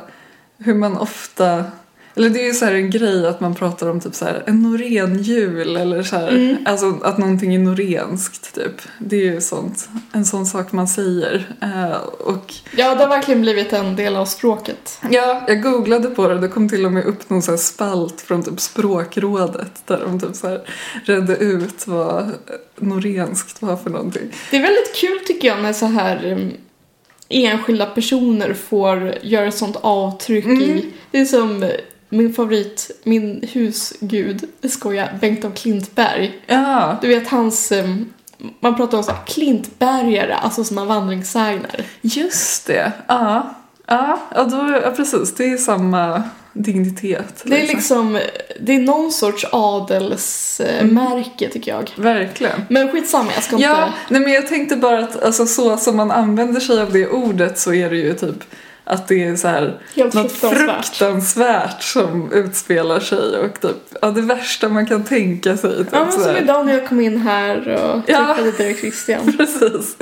Speaker 2: hur man ofta eller det är ju så här en grej att man pratar om typ så här en Norén-jul eller så här, alltså att någonting är norenskt typ. Det är ju sånt, en sån sak man säger. Eh, och
Speaker 3: Ja, det har verkligen blivit en del av språket.
Speaker 2: Ja, jag googlade på det och det kom till och med upp någon så här spalt från typ språkrådet där de typ så här redde ut vad norenskt var för någonting.
Speaker 3: Det är väldigt kul tycker jag när så här em, enskilda personer får göra ett sånt avtryck
Speaker 2: Mm.
Speaker 3: i... Det är som eh, min favorit, min husgud, jag skojar, Bengt av Klintberg.
Speaker 2: Ja,
Speaker 3: Du vet hans... em, Man pratar om så här klintbergare, alltså såna vandringssägner.
Speaker 2: just det. Ja, ja, ja, då, ja precis. Det är samma dignitet.
Speaker 3: Det är liksom... Det är någon sorts adelsmärke tycker jag.
Speaker 2: Verkligen.
Speaker 3: Men skitsamma, jag ska
Speaker 2: Ja,
Speaker 3: inte...
Speaker 2: nej men jag tänkte bara att alltså, så som man använder sig av det ordet så är det ju typ att det är så här
Speaker 3: Helt
Speaker 2: något
Speaker 3: fruktansvärt.
Speaker 2: fruktansvärt som utspelar sig och typ, ja, det värsta man kan tänka sig. Typ,
Speaker 3: Ja, men
Speaker 2: så
Speaker 3: som
Speaker 2: här.
Speaker 3: idag när jag kom in här och
Speaker 2: Ja.
Speaker 3: träffade dig och Christian.
Speaker 2: [LAUGHS] Precis.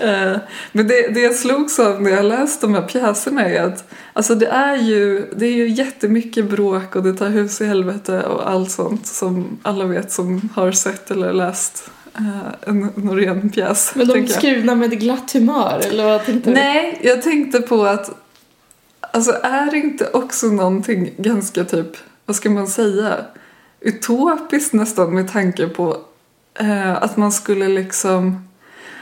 Speaker 2: Eh, Men det, det jag slogs av när jag läste de här pjäserna är att alltså det, är ju, det är ju jättemycket bråk och det tar hus i helvete och allt sånt som alla vet som har sett eller läst eh, en Norén-pjäs.
Speaker 3: Men de är
Speaker 2: tänker jag.
Speaker 3: skrivna med glatt humör, eller vad tänkte du?
Speaker 2: Nej, jag tänkte på att alltså är det inte också någonting ganska typ, vad ska man säga, utopiskt nästan med tanke på eh, att man skulle liksom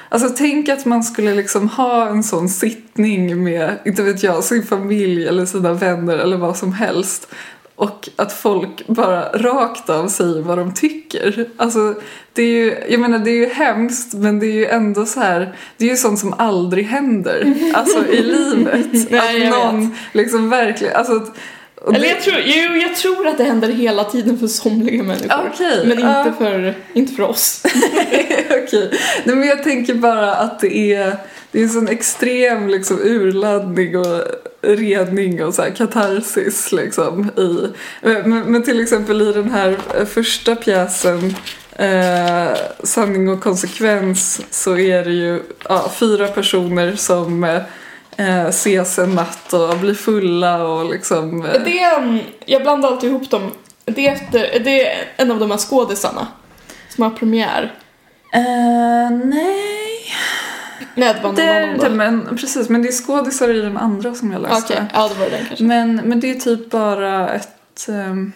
Speaker 2: Alltså tänk att man skulle liksom ha en sån sittning med, inte vet jag, sin familj eller sina vänner eller vad som helst. Och att folk bara rakt av säger vad de tycker. Alltså, det är ju, jag menar det är ju hemskt men det är ju ändå så här, det är ju sånt som aldrig
Speaker 3: [LAUGHS]
Speaker 2: händer. Alltså i livet.
Speaker 3: Nej, jag
Speaker 2: att någon liksom verkligen, alltså att, och
Speaker 3: Eller
Speaker 2: det-
Speaker 3: jag tror, jo, jag tror att det händer hela tiden för somliga människor.
Speaker 2: Okej,
Speaker 3: men inte,
Speaker 2: ja.
Speaker 3: för, inte för oss.
Speaker 2: [LAUGHS] Okej. Nej, men jag tänker bara att det är, det är en sån extrem liksom, urladdning och redning och så här, katarsis. Liksom, i, men, men till exempel i den här eh, första pjäsen Eh, sanning och konsekvens så är det ju ja, fyra personer som eh, eh, ses en natt och blir fulla och liksom... Eh,
Speaker 3: Det är, mm, jag blandar alltid ihop dem. Det är, efter, det är en av de här skådisarna som har premiär.
Speaker 2: eh, nej...
Speaker 3: Nej, det var någon
Speaker 2: Det är
Speaker 3: annan då.
Speaker 2: det, men, precis, men det är skådisar i den andra som jag läste.
Speaker 3: Okej, ja det var den kanske.
Speaker 2: Men, men det är typ bara ett, ehm,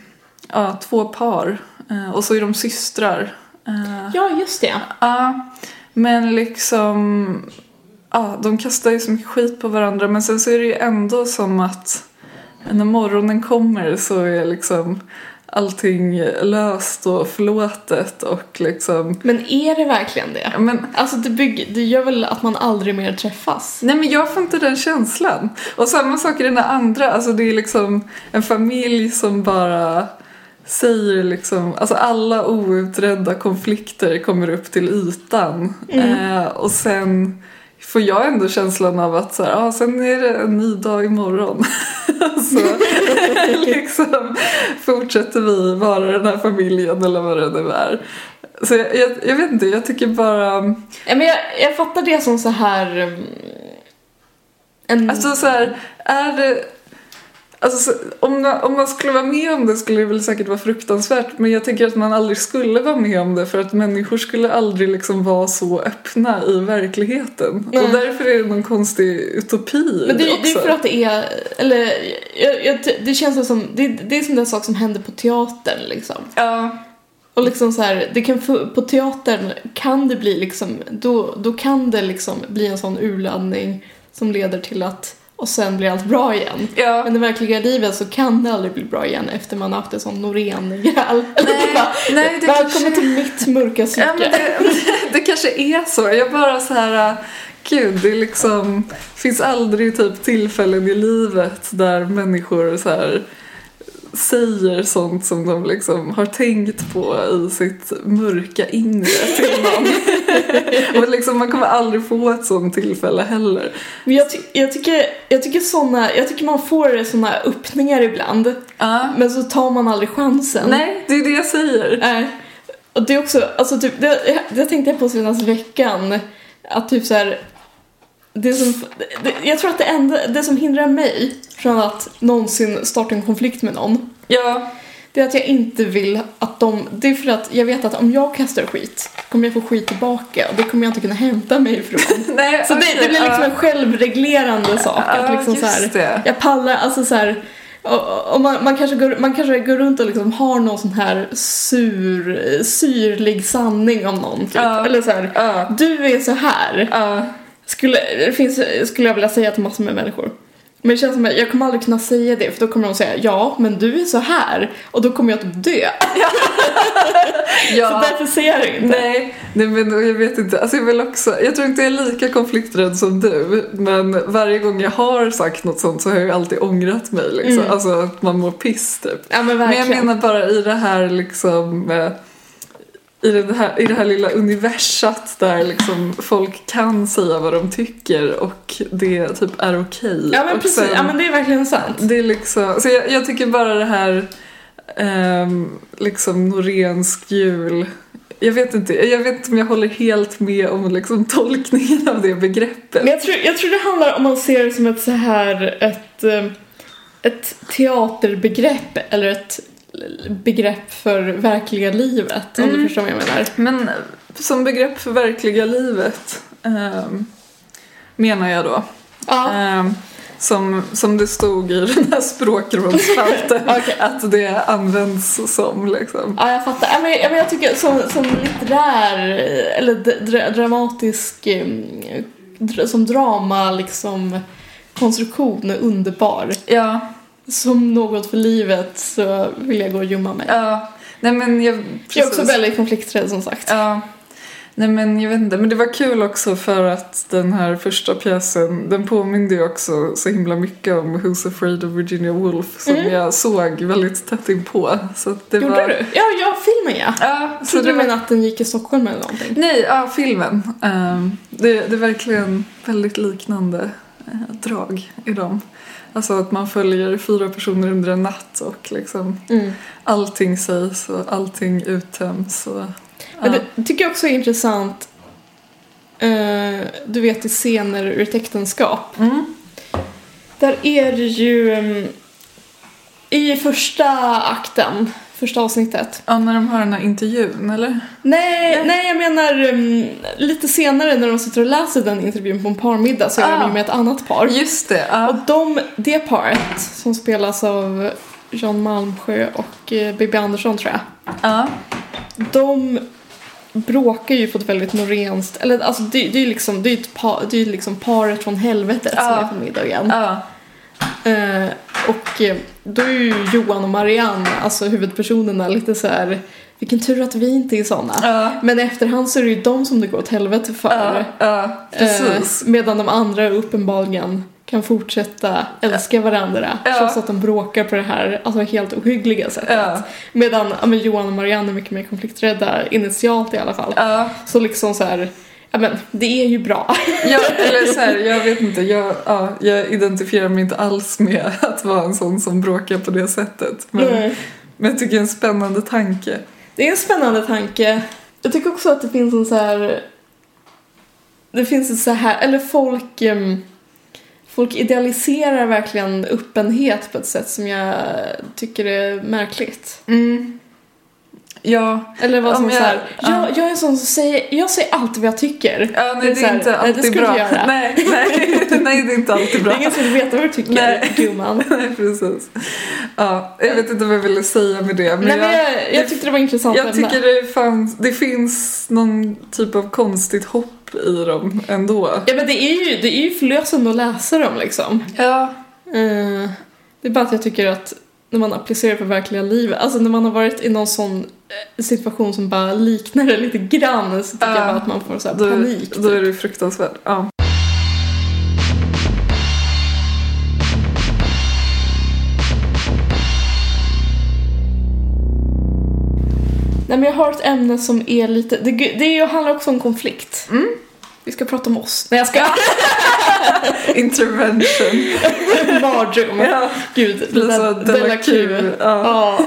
Speaker 2: ja, två par Eh, och så är de systrar. Eh,
Speaker 3: Ja, just det.
Speaker 2: ja, men liksom, ja, de kastar ju så mycket skit på varandra men sen så är det ju ändå som att när morgonen kommer så är liksom allting löst och förlåtet och liksom...
Speaker 3: Men är det verkligen det?
Speaker 2: Ja, Men,
Speaker 3: Alltså det, bygger, det gör väl att man aldrig mer träffas?
Speaker 2: nej men jag får inte den känslan. Och samma sak i den här andra, alltså det är liksom en familj som bara säger liksom, alltså alla outredda konflikter kommer upp till ytan. Eh, och sen får jag ändå känslan av att så här, ah, sen är det en ny dag imorgon. [LAUGHS] så liksom fortsätter vi vara den här familjen eller vad det nu är. Så jag, jag, jag vet inte, jag tycker bara
Speaker 3: Ja, men jag, jag fattar det som så här... mm, En,
Speaker 2: Alltså så här, är det... Alltså, så, om, man, om man skulle vara med om det skulle det väl säkert vara fruktansvärt men jag tänker att man aldrig skulle vara med om det för att människor skulle aldrig liksom vara så öppna i verkligheten.
Speaker 3: Nej.
Speaker 2: Och därför är det någon konstig utopi
Speaker 3: men det,
Speaker 2: också.
Speaker 3: det är för att det är... Eller, jag, jag, det känns som... Det, det är som den sak som händer på teatern liksom.
Speaker 2: Ja,
Speaker 3: Och liksom så här, det kan, få- på teatern kan det bli liksom, då, då kan det liksom bli en sån urladdning som leder till att, och sen blir allt bra igen.
Speaker 2: ja.
Speaker 3: Men i verkliga livet så kan det aldrig bli bra igen efter man har haft en sån Norén-gräl.
Speaker 2: Nej, nej, det
Speaker 3: Välkommen
Speaker 2: kanske-
Speaker 3: till mitt mörka psyke.
Speaker 2: Ja, men det, det kanske är så. Jag bara så här... äh, Gud, det är liksom, finns aldrig typ tillfällen i livet där människor så här säger sånt som de liksom har tänkt på i sitt mörka inre till
Speaker 3: [LAUGHS]
Speaker 2: någon. Och liksom, man kommer aldrig få ett sånt tillfälle heller.
Speaker 3: Men jag, ty- jag tycker, jag tycker såna, jag tycker man får såna öppningar ibland.
Speaker 2: Ja.
Speaker 3: Men så tar man aldrig chansen.
Speaker 2: Nej, det är det jag säger.
Speaker 3: Nej. Och det är också, alltså typ, det, det tänkte jag på senaste veckan. Att typ så här, det som, det, jag tror att det enda, det som hindrar mig från att någonsin starta en konflikt med någon,
Speaker 2: Ja,
Speaker 3: det är att jag inte vill att de, det är för att jag vet att om jag kastar skit kommer jag få skit tillbaka och det kommer jag inte kunna hämta mig ifrån.
Speaker 2: nej,
Speaker 3: Så det, det blir liksom
Speaker 2: ja.
Speaker 3: en självreglerande sak. att
Speaker 2: Ja,
Speaker 3: liksom så här,
Speaker 2: just det.
Speaker 3: Jag pallar, alltså så här, och, och man, man, kanske går, man kanske går runt och liksom har någon sån här sur, syrlig sanning om någon. Typ.
Speaker 2: Ja.
Speaker 3: Eller så här,
Speaker 2: Ja.
Speaker 3: du är så här.
Speaker 2: Ja.
Speaker 3: Skulle, det finns, skulle jag vilja säga till massor med människor. Men det känns som att jag kommer aldrig kunna säga det för då kommer de säga ja, men du är så här och då kommer jag typ dö. Så
Speaker 2: Ja.
Speaker 3: därför säger jag det inte.
Speaker 2: Nej, nej men jag vet inte. Alltså jag, vill också, jag tror inte jag är lika konflikträdd som du. Men varje gång jag har sagt något sånt så har jag ju alltid ångrat mig. Liksom. Alltså att man mår piss typ.
Speaker 3: Ja men
Speaker 2: Men jag
Speaker 3: Mm. verkligen.
Speaker 2: menar bara i det här liksom... eh, I det här, I det här lilla universat där liksom folk kan säga vad de tycker och det typ är okej.
Speaker 3: ja men
Speaker 2: Och
Speaker 3: precis,
Speaker 2: sen-
Speaker 3: ja men det är verkligen sant.
Speaker 2: det är liksom, så jag, jag tycker bara det här ehm, liksom Norénsk jul. Jag vet, inte, jag vet inte om jag håller helt med om liksom tolkningen av det begreppet.
Speaker 3: Men jag tror, jag tror det handlar om man ser det som ett så här ett, eh, ett teaterbegrepp eller ett l- begrepp för verkliga livet om du förstår vad jag menar.
Speaker 2: Men eh, som begrepp för verkliga livet ehm, menar jag då.
Speaker 3: Ja.
Speaker 2: Ehm, som, som det stod i den här [LAUGHS] språkrumsspalten
Speaker 3: Okej.
Speaker 2: att det används som liksom.
Speaker 3: Ja, jag fattar. Ja, men, ja, men jag tycker som, som litterär eh, eller d- dra, dramatisk eh, dra, som drama liksom konstruktion är underbar.
Speaker 2: Ja,
Speaker 3: Som något för livet så vill jag gå och ljumma mig.
Speaker 2: ja. Nej men jag...
Speaker 3: jag är också
Speaker 2: precis.
Speaker 3: väldigt konflikträdd som sagt.
Speaker 2: Ja. Nej men jag vet inte, men det var kul också för att den här första pjäsen den påminde ju också så himla mycket om Who's Afraid of Virginia Woolf som jag såg väldigt tätt inpå. Så att det
Speaker 3: Gjorde
Speaker 2: var...
Speaker 3: du? Ja, ja, filmen ja.
Speaker 2: Ja, så
Speaker 3: Trodde
Speaker 2: det
Speaker 3: du
Speaker 2: var...
Speaker 3: menade att den gick i Stockholm eller någonting?
Speaker 2: Nej, ja filmen. Ehm, det, det är verkligen väldigt liknande eh, drag i dem. Alltså att man följer fyra personer under en natt och liksom allting sägs och allting uttöms. Och,
Speaker 3: Men det tycker jag också är intressant, eh, du vet i scener ur ett äktenskap.
Speaker 2: Mm.
Speaker 3: Där är det ju mm, i första akten, första avsnittet.
Speaker 2: Ja, när de har den här intervjun, eller?
Speaker 3: Nej, nej jag menar mm, lite senare när de sitter och läser den intervjun på en parmiddag så är
Speaker 2: Ah.
Speaker 3: de ju med ett annat par.
Speaker 2: Just det, ja.
Speaker 3: Och de, det paret som spelas av Jan Malmsjö och eh, Bibi Andersson tror jag.
Speaker 2: ja.
Speaker 3: De bråkar ju på ett väldigt norenskt... Eller alltså det, det är ju liksom, det är ju ett par, det är ju liksom paret från helvetet som
Speaker 2: Ja.
Speaker 3: är på middag igen.
Speaker 2: Ja.
Speaker 3: Eh, och eh, då är ju Johan och Marianne, alltså huvudpersonerna, lite så här. Vilken tur att vi inte är såna.
Speaker 2: Ja.
Speaker 3: Men i efterhand så är det ju de som det går åt helvete för.
Speaker 2: Ja, ja, precis.
Speaker 3: Eh, medan de andra uppenbarligen kan fortsätta älska varandra
Speaker 2: Ja.
Speaker 3: trots att de bråkar på det här alltså, helt ohyggliga sättet.
Speaker 2: Ja.
Speaker 3: Medan ja, men Johan och Marianne är mycket mer konflikträdda, initialt i alla fall.
Speaker 2: Eh, Ja.
Speaker 3: Så liksom så här, ja men det är ju bra.
Speaker 2: Ja, eller så här, jag vet inte, jag, ja, jag identifierar mig inte alls med [LAUGHS] att vara en sån som bråkar på det sättet. Men,
Speaker 3: Nej.
Speaker 2: men jag tycker det är en spännande tanke.
Speaker 3: [LAUGHS] Det är en spännande tanke. Jag tycker också att det finns en så här... Det finns ett så här... Eller folk... em, folk idealiserar verkligen öppenhet på ett sätt som jag tycker är märkligt. Mm.
Speaker 2: Ja,
Speaker 3: Eller vad
Speaker 2: Om
Speaker 3: som
Speaker 2: jag-
Speaker 3: så här...
Speaker 2: ja.
Speaker 3: Jag, jag är en sån som säger... Jag säger alltid vad jag tycker.
Speaker 2: ja nej, det är,
Speaker 3: så här,
Speaker 2: inte
Speaker 3: "Nej,
Speaker 2: alltid
Speaker 3: det ska
Speaker 2: bra.
Speaker 3: Du göra.
Speaker 2: Nej, nej, [LAUGHS] nej, det är inte alltid
Speaker 3: Det
Speaker 2: bra.
Speaker 3: är ingen som vill veta vad du tycker,
Speaker 2: Nej.
Speaker 3: gumman.
Speaker 2: [LAUGHS] Nej, precis. Ja, jag vet inte vad jag ville säga med det. Men
Speaker 3: Nej, men
Speaker 2: jag,
Speaker 3: jag, jag tyckte det var intressant
Speaker 2: jag
Speaker 3: ämne.
Speaker 2: tycker det, fanns, det finns någon typ av konstigt hopp i dem ändå.
Speaker 3: Ja, men det är ju, det är ju förlösande att läsa dem liksom.
Speaker 2: Ja,
Speaker 3: Eh, det är bara att jag tycker att när man applicerar på verkliga livet, alltså när man har varit i någon sån eh, situation som bara liknar det lite grann så tycker
Speaker 2: Ja.
Speaker 3: jag bara att man får så här
Speaker 2: då,
Speaker 3: panik.
Speaker 2: då är
Speaker 3: typ.
Speaker 2: det fruktansvärt. Ja. [LAUGHS]
Speaker 3: Nej men jag har ett ämne som är lite, det, det handlar också om konflikt.
Speaker 2: Mm.
Speaker 3: Vi ska prata om oss. Nej jag ska
Speaker 2: Intervention.
Speaker 3: [LAUGHS] mardröm.
Speaker 2: Ja.
Speaker 3: Gud,
Speaker 2: Blir
Speaker 3: Della,
Speaker 2: så
Speaker 3: Della Q.
Speaker 2: Ja.
Speaker 3: Ja,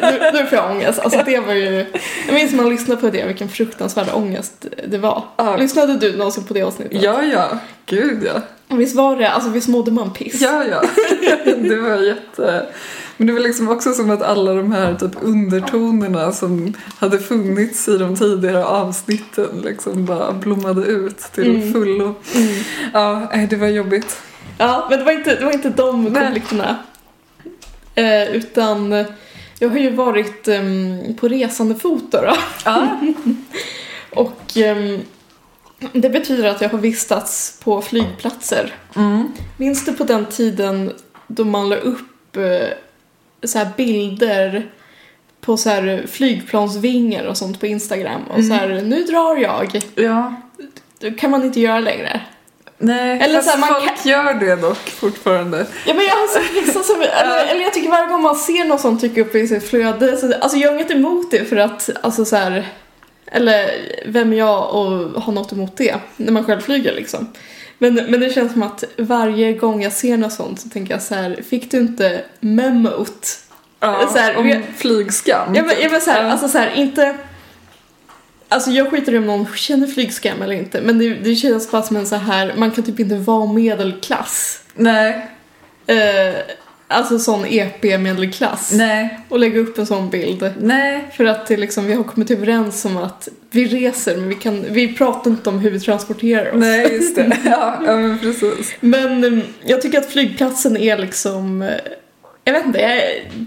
Speaker 3: nu, nu får jag ångest. Alltså det var ju... Jag minns när man lyssnade på det, vilken fruktansvärd ångest det var.
Speaker 2: Ja.
Speaker 3: Lyssnade du någonsin på det avsnittet?
Speaker 2: ja, ja. Gud ja.
Speaker 3: Visst var det, alltså visst mådde man piss?
Speaker 2: Ja, [LAUGHS] ja. Det var jätte... Men det var liksom också som att alla de här typ undertonerna som hade funnits i de tidigare avsnitten liksom bara blommade ut till
Speaker 3: Mm.
Speaker 2: fullo. Ja, nej, det var jobbigt.
Speaker 3: Ja, men det var inte, det var inte de konflikterna. Eh, utan eh, jag har ju varit ehm, på resande fot då, då.
Speaker 2: Ja.
Speaker 3: Och ehm, det betyder att jag har vistats på flygplatser.
Speaker 2: Mm.
Speaker 3: Minns du på den tiden då man la upp eh, så här bilder på så här flygplansvingar och sånt på Instagram och så här nu drar jag.
Speaker 2: Ja.
Speaker 3: Det kan man inte göra längre.
Speaker 2: Nej,
Speaker 3: Eller
Speaker 2: fast
Speaker 3: så här, man
Speaker 2: folk gör det dock fortfarande.
Speaker 3: Ja men jag har sett vissa som, eller, eller jag tycker varje gång man ser någon som tycker upp i sitt flöde, så, alltså jag har inget emot det för att, alltså så här, eller vem är jag och har något emot det, när man själv flyger liksom. Men, men det känns som att varje gång jag ser något sånt så tänker jag så här, fick du inte memot?
Speaker 2: Ja,
Speaker 3: Så här,
Speaker 2: om
Speaker 3: vi-
Speaker 2: flygskam. typ.
Speaker 3: Ja men, ja, men så här,
Speaker 2: Ja.
Speaker 3: alltså så här, inte... Alltså jag skiter i om någon känner flygskam eller inte, men det, det känns bara som en så här, man kan typ inte vara medelklass.
Speaker 2: Nej,
Speaker 3: Eh, alltså sån EP-medelklass.
Speaker 2: nej,
Speaker 3: Och lägga upp en sån bild.
Speaker 2: nej.
Speaker 3: För att det liksom, vi har kommit överens om att vi reser men vi, kan, vi pratar inte om hur vi transporterar oss.
Speaker 2: Nej, just [LAUGHS] det. Ja, ja men precis.
Speaker 3: Men eh, jag tycker att flygplatsen är liksom eh, jag vet inte, jag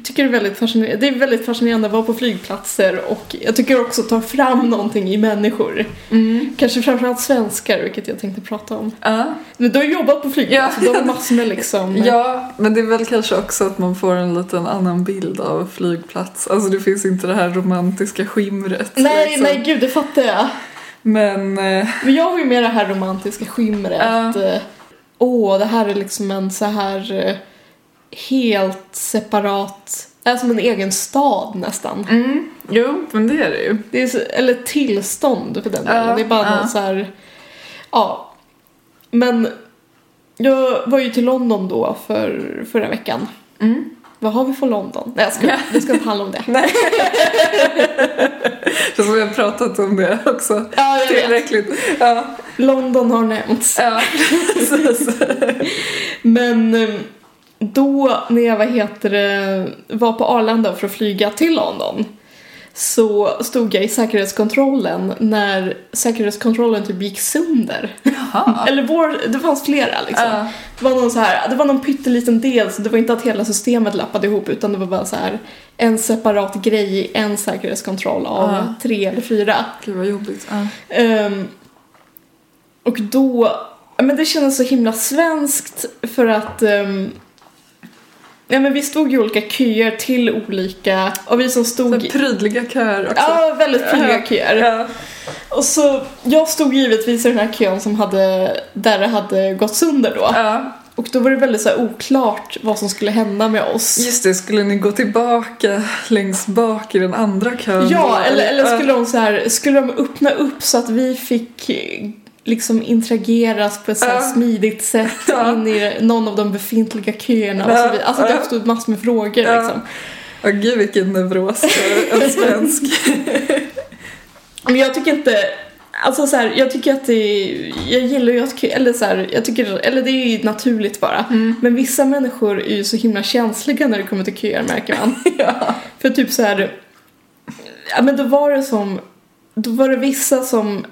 Speaker 3: tycker det är väldigt fascinerande. Det är väldigt fascinerande att vara på flygplatser och jag tycker också att ta fram någonting i människor.
Speaker 2: Mm.
Speaker 3: Kanske framförallt svenskar, vilket jag tänkte prata om.
Speaker 2: Ja.
Speaker 3: Men du har jobbat på flygplatser,
Speaker 2: Ja.
Speaker 3: du har massor med liksom... [LAUGHS]
Speaker 2: Mm. Ja, men det är väl kanske också att man får en liten annan bild av flygplats. Alltså det finns inte det här romantiska skimret.
Speaker 3: Nej,
Speaker 2: liksom.
Speaker 3: nej gud, det fattar jag.
Speaker 2: Men eh,
Speaker 3: Men jag var ju med det här romantiska skimret.
Speaker 2: Ja.
Speaker 3: eh, Åh, det här är liksom en så här eh, helt separat, är som en egen stad nästan.
Speaker 2: mm, jo, men det är det ju.
Speaker 3: Det är, så- eller tillstånd för den
Speaker 2: Ja,
Speaker 3: delen. Det är bara
Speaker 2: ja.
Speaker 3: någon så här, ja. Men jag var ju till London då för, förra veckan.
Speaker 2: Mm.
Speaker 3: Vad har vi för London? Nej, jag ska, vi ska inte handla om det.
Speaker 2: Nej. Så vi har pratat om det också.
Speaker 3: Ja, jag vet.
Speaker 2: Tillräckligt. Ja,
Speaker 3: London har nämnts.
Speaker 2: ja, [LAUGHS] precis.
Speaker 3: Men eh, då när jag vad heter det, var på Arlanda för att flyga till London så stod jag i säkerhetskontrollen när säkerhetskontrollen typ gick sönder.
Speaker 2: Jaha.
Speaker 3: Eller vår, det fanns flera liksom.
Speaker 2: Ja.
Speaker 3: Det var någon så här, det var någon pytteliten del så det var inte att hela systemet lappade ihop utan det var bara så här en separat grej i en säkerhetskontroll av
Speaker 2: Ja.
Speaker 3: tre eller fyra.
Speaker 2: Gud vad jobbigt. Ja.
Speaker 3: Ehm, och då, ja, men det kändes så himla svenskt för att ehm, Ja men vi stod i olika köer till olika, och vi som stod
Speaker 2: Så
Speaker 3: i-
Speaker 2: prydliga köer också.
Speaker 3: Ja, väldigt prydliga köer.
Speaker 2: Ja.
Speaker 3: Och så, jag stod givetvis i den här kön som hade, där det hade gått sönder då.
Speaker 2: Ja.
Speaker 3: Och då var det väldigt så här oklart vad som skulle hända med oss.
Speaker 2: Just det, skulle ni gå tillbaka längst bak i den andra kön?
Speaker 3: Ja, eller,
Speaker 2: Ja.
Speaker 3: eller skulle de så här, skulle de öppna upp så att vi fick eh, liksom interageras på ett så här
Speaker 2: Ja.
Speaker 3: smidigt sätt
Speaker 2: Ja.
Speaker 3: in i någon av de befintliga köerna och så
Speaker 2: Ja.
Speaker 3: vidare. Alltså det uppstod massor med frågor
Speaker 2: Ja.
Speaker 3: liksom.
Speaker 2: Åh, gud vilken neuros för en svensk.
Speaker 3: [LAUGHS] Men jag tycker inte Alltså så här, jag tycker att det jag gillar ju att, eller så här, jag tycker, eller det är ju naturligt bara. Men vissa människor är ju så himla känsliga när det kommer till köer märker man. För typ så här, ja men då var det som, då var det vissa som,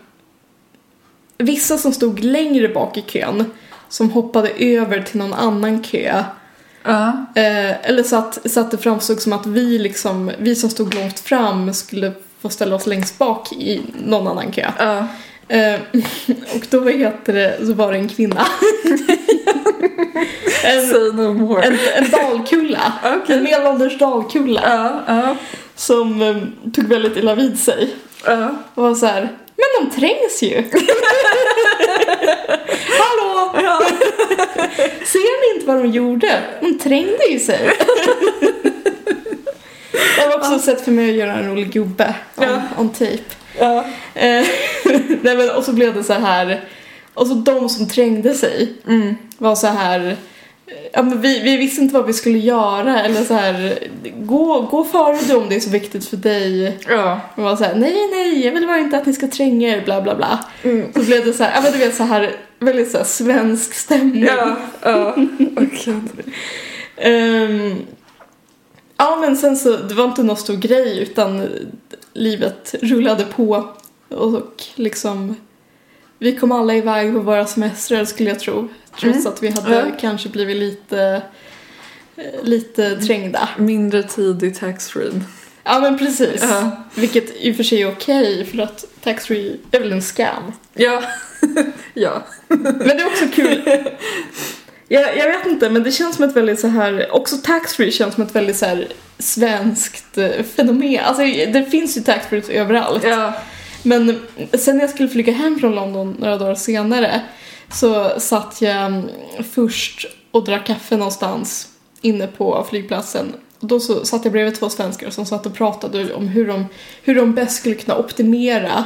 Speaker 3: vissa som stod längre bak i kön som hoppade över till någon annan kö.
Speaker 2: Ja.
Speaker 3: Eh, eller så att, så att det framstod som att vi, liksom, vi som stod långt fram skulle få ställa oss längst bak i någon annan kö.
Speaker 2: Ja.
Speaker 3: Eh, [LAUGHS] och då vad heter det, så var det
Speaker 2: [LAUGHS]
Speaker 3: en kvinna. en,
Speaker 2: Say no more.
Speaker 3: en, en dalkulla.
Speaker 2: Okej.
Speaker 3: En medelålders dalkulla.
Speaker 2: Ja, ja,
Speaker 3: Som eh, tog väldigt illa vid sig.
Speaker 2: ja.
Speaker 3: Och var så här, men de trängs
Speaker 2: [LAUGHS]
Speaker 3: ju. [LAUGHS] Hallå! Ser ni inte vad de gjorde? De trängde ju sig. Jag har också sett för mig att göra en rolig gubbe typ. on,
Speaker 2: Ja.
Speaker 3: on tape.
Speaker 2: ja.
Speaker 3: Eh, [LAUGHS] Nej, men, och så blev det så här, och så de som trängde sig
Speaker 2: Mm.
Speaker 3: var så här eh, Ja, men vi, vi visste inte vad vi skulle göra eller så här gå, gå före du om det är så viktigt för dig.
Speaker 2: ja.
Speaker 3: Och var så här, nej, nej, jag vill bara inte att ni ska tränga er, bla, bla, bla. Så blev det så här, ja men du vet så här, väldigt så här svensk stämning.
Speaker 2: Ja, ja. Okej.
Speaker 3: Ehm, ja men sen så, det var inte någon stor grej utan livet rullade på och liksom vi kom alla iväg på våra semestrar skulle jag tro. Trots att vi hade
Speaker 2: Mm. Ja.
Speaker 3: kanske blivit lite, eh, lite trängda.
Speaker 2: Mindre tid i taxfree.
Speaker 3: Ja men precis.
Speaker 2: Ja.
Speaker 3: Vilket i och för sig är okej för att taxfree är väl en scam.
Speaker 2: Ja. [LAUGHS] ja.
Speaker 3: Men det är också kul. Jag, jag vet inte, men det känns som ett väldigt så här, också taxfree känns som ett väldigt så här svenskt eh, fenomen. Alltså det finns ju taxfree överallt.
Speaker 2: Ja.
Speaker 3: Men sen när jag skulle flyga hem från London några dagar senare så satt jag mm, först och drack kaffe någonstans inne på flygplatsen. Och då så satt jag bredvid två svenskar som satt och pratade om hur de, hur de bäst skulle kunna optimera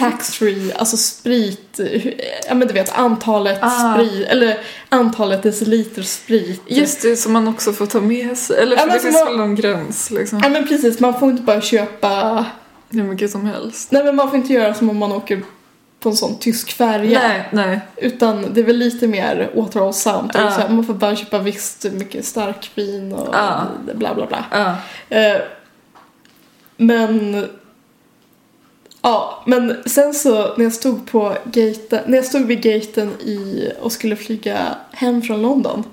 Speaker 3: taxfree, alltså sprit, eh, hur- ja men du vet antalet
Speaker 2: Ah.
Speaker 3: sprit, eller antalet deciliter sprit.
Speaker 2: Just det, som man också får ta med sig. Eller
Speaker 3: Ja,
Speaker 2: för
Speaker 3: men
Speaker 2: det
Speaker 3: som
Speaker 2: finns
Speaker 3: man-
Speaker 2: väl någon gräns liksom.
Speaker 3: Ja men precis, man får inte bara köpa,
Speaker 2: Hur mycket som helst.
Speaker 3: nej men man får inte göra som om man åker på en sån tysk färja.
Speaker 2: Nej, nej.
Speaker 3: Utan det är väl lite mer återhållsamt.
Speaker 2: Ja.
Speaker 3: Så här, man får bara köpa visst mycket starkvin och
Speaker 2: Ja.
Speaker 3: bla bla bla.
Speaker 2: Ja.
Speaker 3: Eh, men... Ja, men sen så när jag stod på gaten, när jag stod vid gaten i, och skulle flyga hem från London.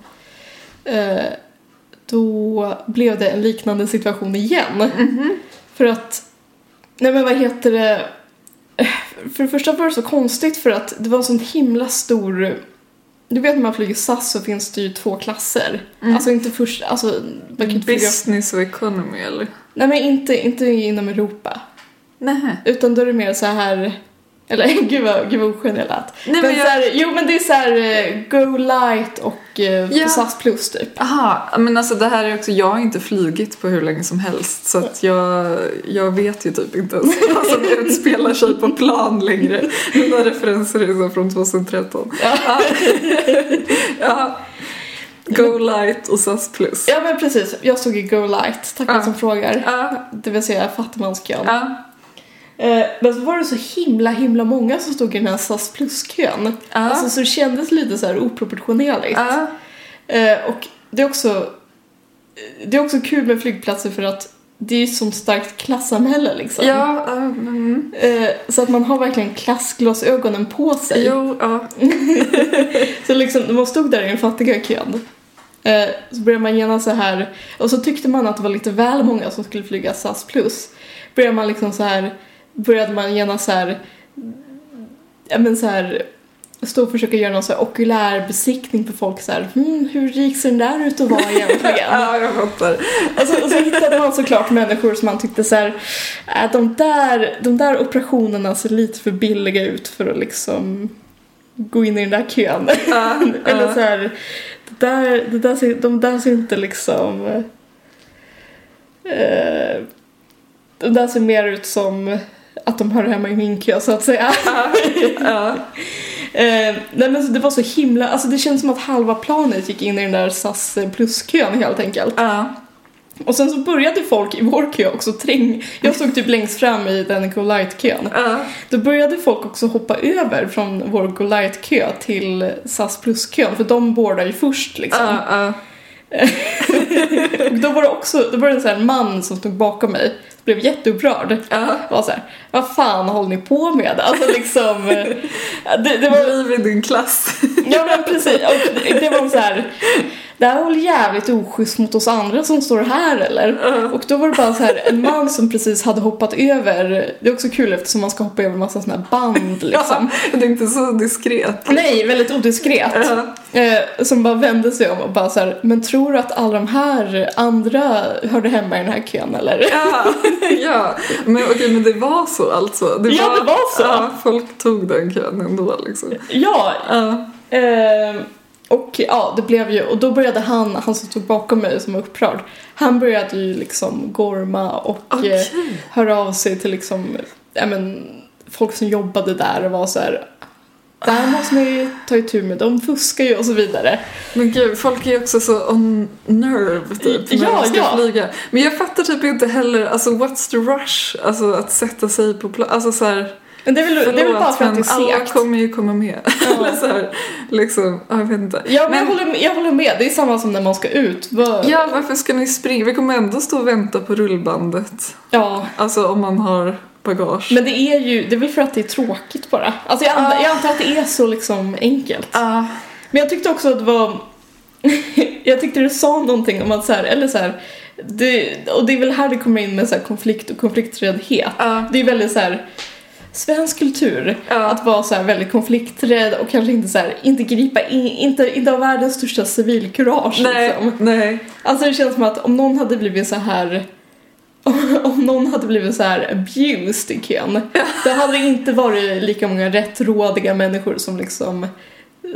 Speaker 3: Eh, då blev det en liknande situation igen. För att, nej men vad heter det? För det första var det så konstigt för att det var en sån himla stor du vet när man flyger SAS så finns det ju två klasser. Alltså inte först, alltså man kan inte flyga
Speaker 2: Business och economy eller?
Speaker 3: Nej men inte, inte inom Europa.
Speaker 2: Nej.
Speaker 3: Utan då är det mer så här... Eller [LAUGHS] gud vad, gud vad oskön jag lät.
Speaker 2: Nej, men
Speaker 3: men
Speaker 2: jag-
Speaker 3: så här, jo men det är så här eh, Go Light och eh,
Speaker 2: Ja.
Speaker 3: SAS Plus typ.
Speaker 2: Aha, men alltså det här är också, jag har inte flugit på hur länge som helst så att jag, jag vet ju typ inte ens [LAUGHS] vad som utspelar sig på plan längre. Mina referenser är så från 2013. Ja. [LAUGHS] ja. Go light och SAS plus.
Speaker 3: Ja men precis, jag stod i Go Light, tack
Speaker 2: Ja.
Speaker 3: som frågar.
Speaker 2: Ja,
Speaker 3: Det vill säga fattigmanskön.
Speaker 2: ja,
Speaker 3: Eh, men så var det så himla himla många som stod i den här SAS Plus-kön.
Speaker 2: Ja.
Speaker 3: Alltså så det kändes lite så här oproportionerligt.
Speaker 2: ja,
Speaker 3: Eh, och det är också det är också kul med flygplatser för att det är ju ett sånt starkt klassamhälle liksom.
Speaker 2: Ja, eh, mm.
Speaker 3: Eh, så att man har verkligen klassglasögonen på sig.
Speaker 2: jo, ja.
Speaker 3: Så liksom, när man stod där i den fattiga kön eh, så började man genast så här och så tyckte man att det var lite väl många som skulle flyga SAS plus. Började man liksom så här, började man genast så här, ja men så här stå och försöka göra någon så här okulär besiktning på folk så här, hmm, hur rik ser den där ut att vara egentligen?
Speaker 2: ja, jag fattar.
Speaker 3: och, så, Alltså, och så hittade man såklart människor som man tyckte så här, äh, de där, de där operationerna ser lite för billiga ut för att liksom gå in i den där kön.
Speaker 2: Ja,
Speaker 3: Eller
Speaker 2: ja.
Speaker 3: så här, det där, det där ser, de där ser inte liksom... Eh, de där ser mer ut som att de hör hemma i min kö så att säga.
Speaker 2: ja.
Speaker 3: Eh, nej men så det var så himla, alltså det känns som att halva planet gick in i den där SAS pluskön helt enkelt.
Speaker 2: Ja.
Speaker 3: Och sen så började folk i vår kö också träng. Jag stod typ längst fram i den Go Light-kön.
Speaker 2: Ja.
Speaker 3: Då började folk också hoppa över från vår Go Light-kö till SAS plus-kön för de boardar ju först liksom.
Speaker 2: Ja. Ja.
Speaker 3: [LAUGHS] Och då var det också, då var det så här en man som stod bakom mig, som blev jätteupprörd.
Speaker 2: Ja.
Speaker 3: Var så här, vad fan håller ni på med? Alltså liksom, eh, det, det var,
Speaker 2: Driv i din klass.
Speaker 3: ja men precis, och det, det var så här, det här var väl jävligt oschysst mot oss andra som står här eller? Och då var det bara så här, en man som precis hade hoppat över, det är också kul eftersom man ska hoppa över en massa sådana här band [LAUGHS] liksom.
Speaker 2: Ja, jag tänkte så diskret.
Speaker 3: Nej, väldigt indiskret.
Speaker 2: Ja.
Speaker 3: Eh, som bara vände sig om och bara så här, men tror du att alla de här andra hörde hemma i den här kön eller?
Speaker 2: Ja, ja. Men okej, men det var så alltså?
Speaker 3: Ja, det var så.
Speaker 2: Ja, folk tog den kön ändå liksom.
Speaker 3: Ja,
Speaker 2: Ja,
Speaker 3: eh, och ja, det blev ju, och då började han, han som stod bakom mig som var upprörd, han började ju liksom gorma och
Speaker 2: Okej.
Speaker 3: eh, höra av sig till liksom, ja men, folk som jobbade där och var så här, där måste ni ta itu med, de fuskar ju och så vidare.
Speaker 2: Men gud, folk är ju också så on nerve typ när
Speaker 3: Ja,
Speaker 2: de ska
Speaker 3: ja.
Speaker 2: flyga. Men jag fattar typ inte heller, alltså what's the rush? Alltså att sätta sig på plats, alltså så här,
Speaker 3: Men det är väl, det är väl bara för att det är
Speaker 2: men alla
Speaker 3: segt.
Speaker 2: kommer ju komma med. [LAUGHS] Eller så här, liksom, ja, jag vet inte.
Speaker 3: Ja, men, Jag, håller med, jag håller med. Det är samma som när man ska ut. Vad-
Speaker 2: ja, varför ska ni springa? Vi kommer ändå stå och vänta på rullbandet.
Speaker 3: ja.
Speaker 2: Alltså om man har bagage.
Speaker 3: Men det är ju, det är väl för att det är tråkigt bara. Alltså jag, antar, jag antar att det är så liksom enkelt.
Speaker 2: Ja.
Speaker 3: Men jag tyckte också att det var, [LAUGHS] jag tyckte det sa någonting om att så här, eller så här, det, och det är väl här det kommer in med så här konflikt och konflikträddhet.
Speaker 2: Ja.
Speaker 3: Det är väldigt så här svensk kultur
Speaker 2: Ja.
Speaker 3: att vara så här väldigt konflikträdd och kanske inte så här, inte gripa in, inte, inte ha världens största civilkurage liksom.
Speaker 2: Nej, nej.
Speaker 3: Alltså det känns som att om någon hade blivit så här [LAUGHS] om någon hade blivit så här abused i kön, då hade det inte varit lika många rättrådiga människor som liksom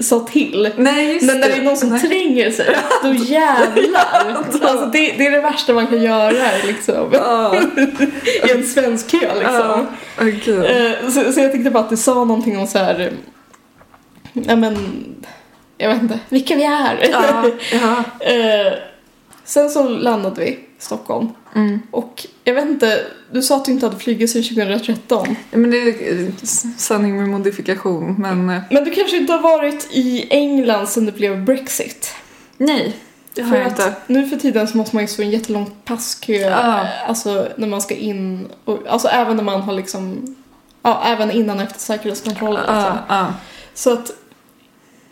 Speaker 3: sa till.
Speaker 2: Nej, just
Speaker 3: Men när det är någon som
Speaker 2: Nej.
Speaker 3: tränger sig, [LAUGHS] då jävlar! [LAUGHS] Alltså det, det är det värsta man kan göra liksom,
Speaker 2: Ja,
Speaker 3: [LAUGHS] i en svensk kö liksom.
Speaker 2: ja. Åh, gud.
Speaker 3: Eh, Så, så jag tyckte bara att det sa någonting om så här, eh, ja men, jag vet inte, vilka vi är!
Speaker 2: Ja, ja.
Speaker 3: [LAUGHS] Eh, sen så landade vi i Stockholm.
Speaker 2: Mm.
Speaker 3: Och jag vet inte, du sa att du inte hade flugit sedan 2013.
Speaker 2: Men det är eh, s- sanning med modifikation, men... eh,
Speaker 3: Men du kanske inte har varit i England sedan det blev Brexit?
Speaker 2: Nej, det har
Speaker 3: För
Speaker 2: jag
Speaker 3: att
Speaker 2: inte.
Speaker 3: nu för tiden så måste man ju stå i en jättelång passkö,
Speaker 2: Ja.
Speaker 3: eh, alltså när man ska in, och, alltså även när man har liksom, ja även innan och efter
Speaker 2: Ah,
Speaker 3: säkerhetskontrollen. Liksom.
Speaker 2: Ja, ja.
Speaker 3: Så att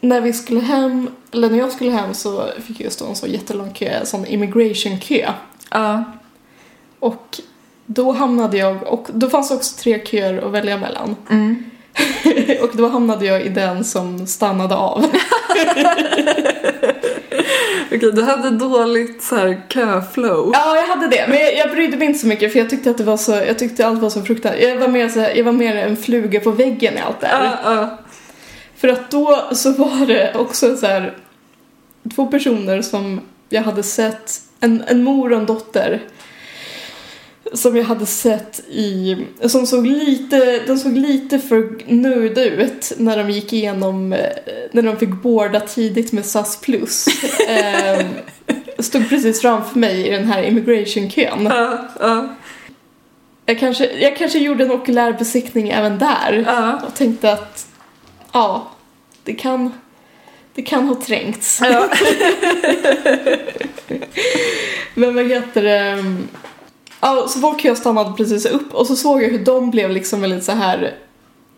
Speaker 3: när vi skulle hem, eller när jag skulle hem så fick jag stå i en så jättelång kö, en sån immigration-kö.
Speaker 2: Ja,
Speaker 3: Och då hamnade jag, och då fanns det också tre köer att välja mellan. [LAUGHS]
Speaker 2: mm.
Speaker 3: och då hamnade jag i den som stannade av.
Speaker 2: Okej, du hade dåligt så här köflow.
Speaker 3: ja, jag hade det. Men jag, jag brydde mig inte så mycket för jag tyckte att det var så, jag tyckte allt var så fruktansvärt. Jag var mer, så här, jag var mer en fluga på väggen i allt det här.
Speaker 2: Ja, ja.
Speaker 3: För att då så var det också så här två personer som jag hade sett, en, en mor och en dotter som jag hade sett i, som såg lite, de såg lite för nöjda ut när de gick igenom, eh, när de fick boarda tidigt med SAS plus. Ehm, Stod precis framför mig i den här immigration-kön.
Speaker 2: ja, ja,
Speaker 3: Jag kanske, jag kanske gjorde en okulär besiktning även där.
Speaker 2: ja.
Speaker 3: Och tänkte att ja, det kan, det kan ha trängts.
Speaker 2: Ja.
Speaker 3: Men vad heter det? mm, Ja, så folk och jag stannade precis upp och så såg jag hur de blev liksom väldigt så här.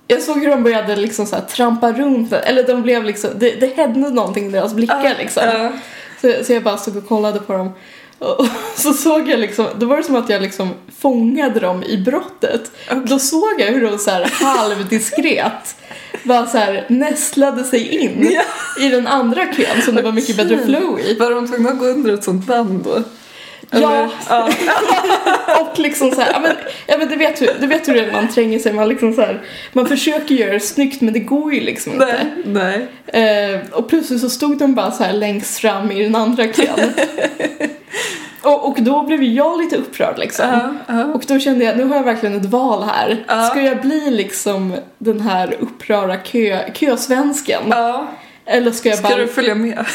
Speaker 3: Jag såg hur de började liksom så här trampa runt, eller de blev liksom, det, det hände någonting i deras blickar
Speaker 2: ah,
Speaker 3: liksom.
Speaker 2: Ja.
Speaker 3: Så, så jag bara stod och kollade på dem. Och [LAUGHS] och så såg jag liksom, då var det som att jag liksom fångade dem i brottet. Då såg jag hur de så här halvdiskret bara så här nästlade sig in
Speaker 2: Ja.
Speaker 3: i den andra kön som det var mycket bättre flow i.
Speaker 2: Var de tvungna att gå under ett sånt band då?
Speaker 3: Ja,
Speaker 2: Eller- Ah, ja.
Speaker 3: och liksom så här, ja men, ja, men du, vet hur, du vet hur det är när man tränger sig, man liksom så här, man försöker göra det snyggt men det går ju liksom inte.
Speaker 2: Nej, nej.
Speaker 3: Eh, och plötsligt så stod de bara så här längst fram i den andra
Speaker 2: [LAUGHS]
Speaker 3: kön. och, och då blev ju jag lite upprörd liksom.
Speaker 2: Ja, ja.
Speaker 3: Och då kände jag, nu har jag verkligen ett val här.
Speaker 2: Ja.
Speaker 3: Ska jag bli liksom den här upprörda kö, kösvensken?
Speaker 2: Ja,
Speaker 3: Eller ska jag
Speaker 2: ska
Speaker 3: bara...
Speaker 2: du följa med?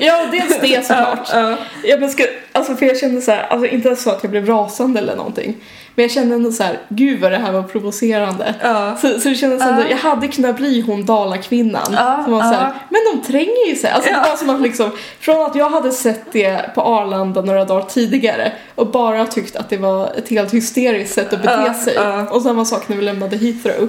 Speaker 3: Ja, dels det såklart.
Speaker 2: Ja,
Speaker 3: Ja, men ska, alltså för jag kände så här, alltså inte ens så att jag blev rasande eller någonting. Men jag kände ändå så här, gud vad det här var provocerande.
Speaker 2: ja.
Speaker 3: Så, så det kändes ändå,
Speaker 2: Ja.
Speaker 3: jag hade kunnat bli hon Dalakvinnan.
Speaker 2: Ja,
Speaker 3: som var så här,
Speaker 2: ja.
Speaker 3: men de tränger ju sig. Alltså
Speaker 2: Ja.
Speaker 3: det var som att liksom, från att jag hade sett det på Arlanda några dagar tidigare och bara tyckt att det var ett helt hysteriskt sätt att bete
Speaker 2: Ja,
Speaker 3: sig.
Speaker 2: ja.
Speaker 3: Och samma sak när vi lämnade Heathrow.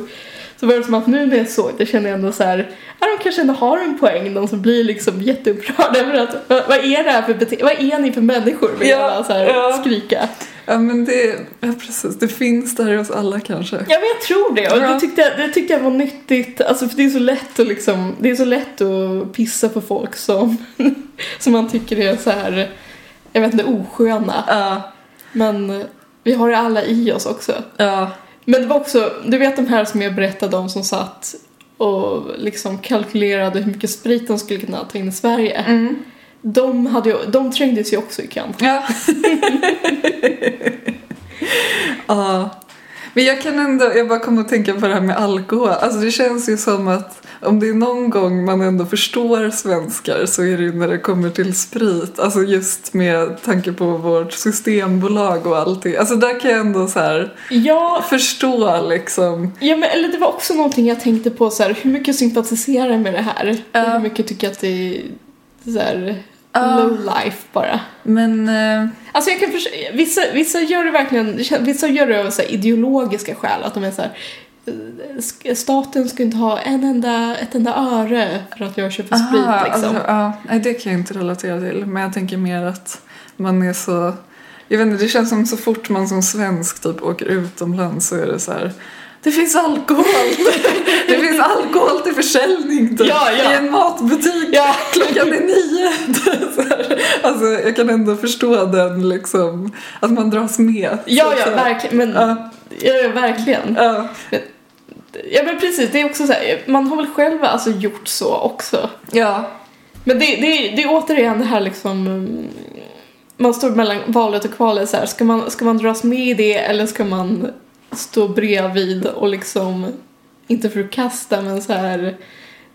Speaker 3: Så var det som att nu när jag såg det kände jag ändå så här, ja de kanske ändå har en poäng, de som blir liksom jätteupprörda över att, vad, vad är det här för bete- vad är ni för människor? Vill
Speaker 2: Ja,
Speaker 3: jag bara så här
Speaker 2: ja.
Speaker 3: skrika.
Speaker 2: Ja, men det, ja, precis. Det finns där i oss alla kanske.
Speaker 3: Ja men jag tror det och
Speaker 2: Ja.
Speaker 3: det, tyckte jag, det tyckte jag var nyttigt. Alltså för det är så lätt att liksom, det är så lätt att pissa på folk som, [LAUGHS] som man tycker är så här, jag vet inte, osköna.
Speaker 2: Ja,
Speaker 3: Men eh, vi har det alla i oss också.
Speaker 2: ja,
Speaker 3: Men det var också, du vet de här som jag berättade om som satt och liksom kalkylerade hur mycket sprit de skulle kunna ta in i Sverige.
Speaker 2: mm.
Speaker 3: De, hade ju, de trängdes ju också i kant.
Speaker 2: ja. ja. Men jag kan ändå, jag bara kom att tänka på det här med alkohol. Alltså det känns ju som att om det är någon gång man ändå förstår svenskar så är det ju när det kommer till sprit. Alltså just med tanke på vårt systembolag och allt det. Alltså där kan jag ändå så här
Speaker 3: Ja,
Speaker 2: förstå liksom.
Speaker 3: Ja, men, eller det var också någonting jag tänkte på så här, hur mycket sympatiserar jag med det här?
Speaker 2: Ja.
Speaker 3: Hur mycket tycker jag att det är så här,
Speaker 2: Ja.
Speaker 3: low life bara?
Speaker 2: Men eh,
Speaker 3: Alltså jag kan förs- vissa, vissa gör det verkligen, vissa gör det av så här ideologiska skäl, att de är så här eh, sk- staten ska inte ha en enda, ett enda öre för att jag köper sprit
Speaker 2: Aha,
Speaker 3: liksom.
Speaker 2: alltså, ja, nej, det kan jag inte relatera till. Men jag tänker mer att man är så... Jag vet inte, det känns som så fort man som svensk typ åker utomlands så är det så här... Det finns alkohol! [LAUGHS] det finns alkohol till försäljning typ,
Speaker 3: Ja, ja.
Speaker 2: i en matbutik
Speaker 3: Ja.
Speaker 2: [LAUGHS] klockan är nio. [LAUGHS] så här. Alltså, jag kan ändå förstå den liksom, att man dras med.
Speaker 3: Ja,
Speaker 2: Så-
Speaker 3: [LAUGHS] ja,
Speaker 2: så här.
Speaker 3: verkligen. Men,
Speaker 2: Ja.
Speaker 3: ja, ja, verkligen.
Speaker 2: Ja,
Speaker 3: Ja, men precis. Det är också så här, man har väl själv alltså gjort så också.
Speaker 2: ja,
Speaker 3: Men det, det, det är återigen det här liksom mm, man står mellan valet och kvalet så här. Ska man, ska man dras med i det eller ska man stå bredvid och liksom inte förkasta men så här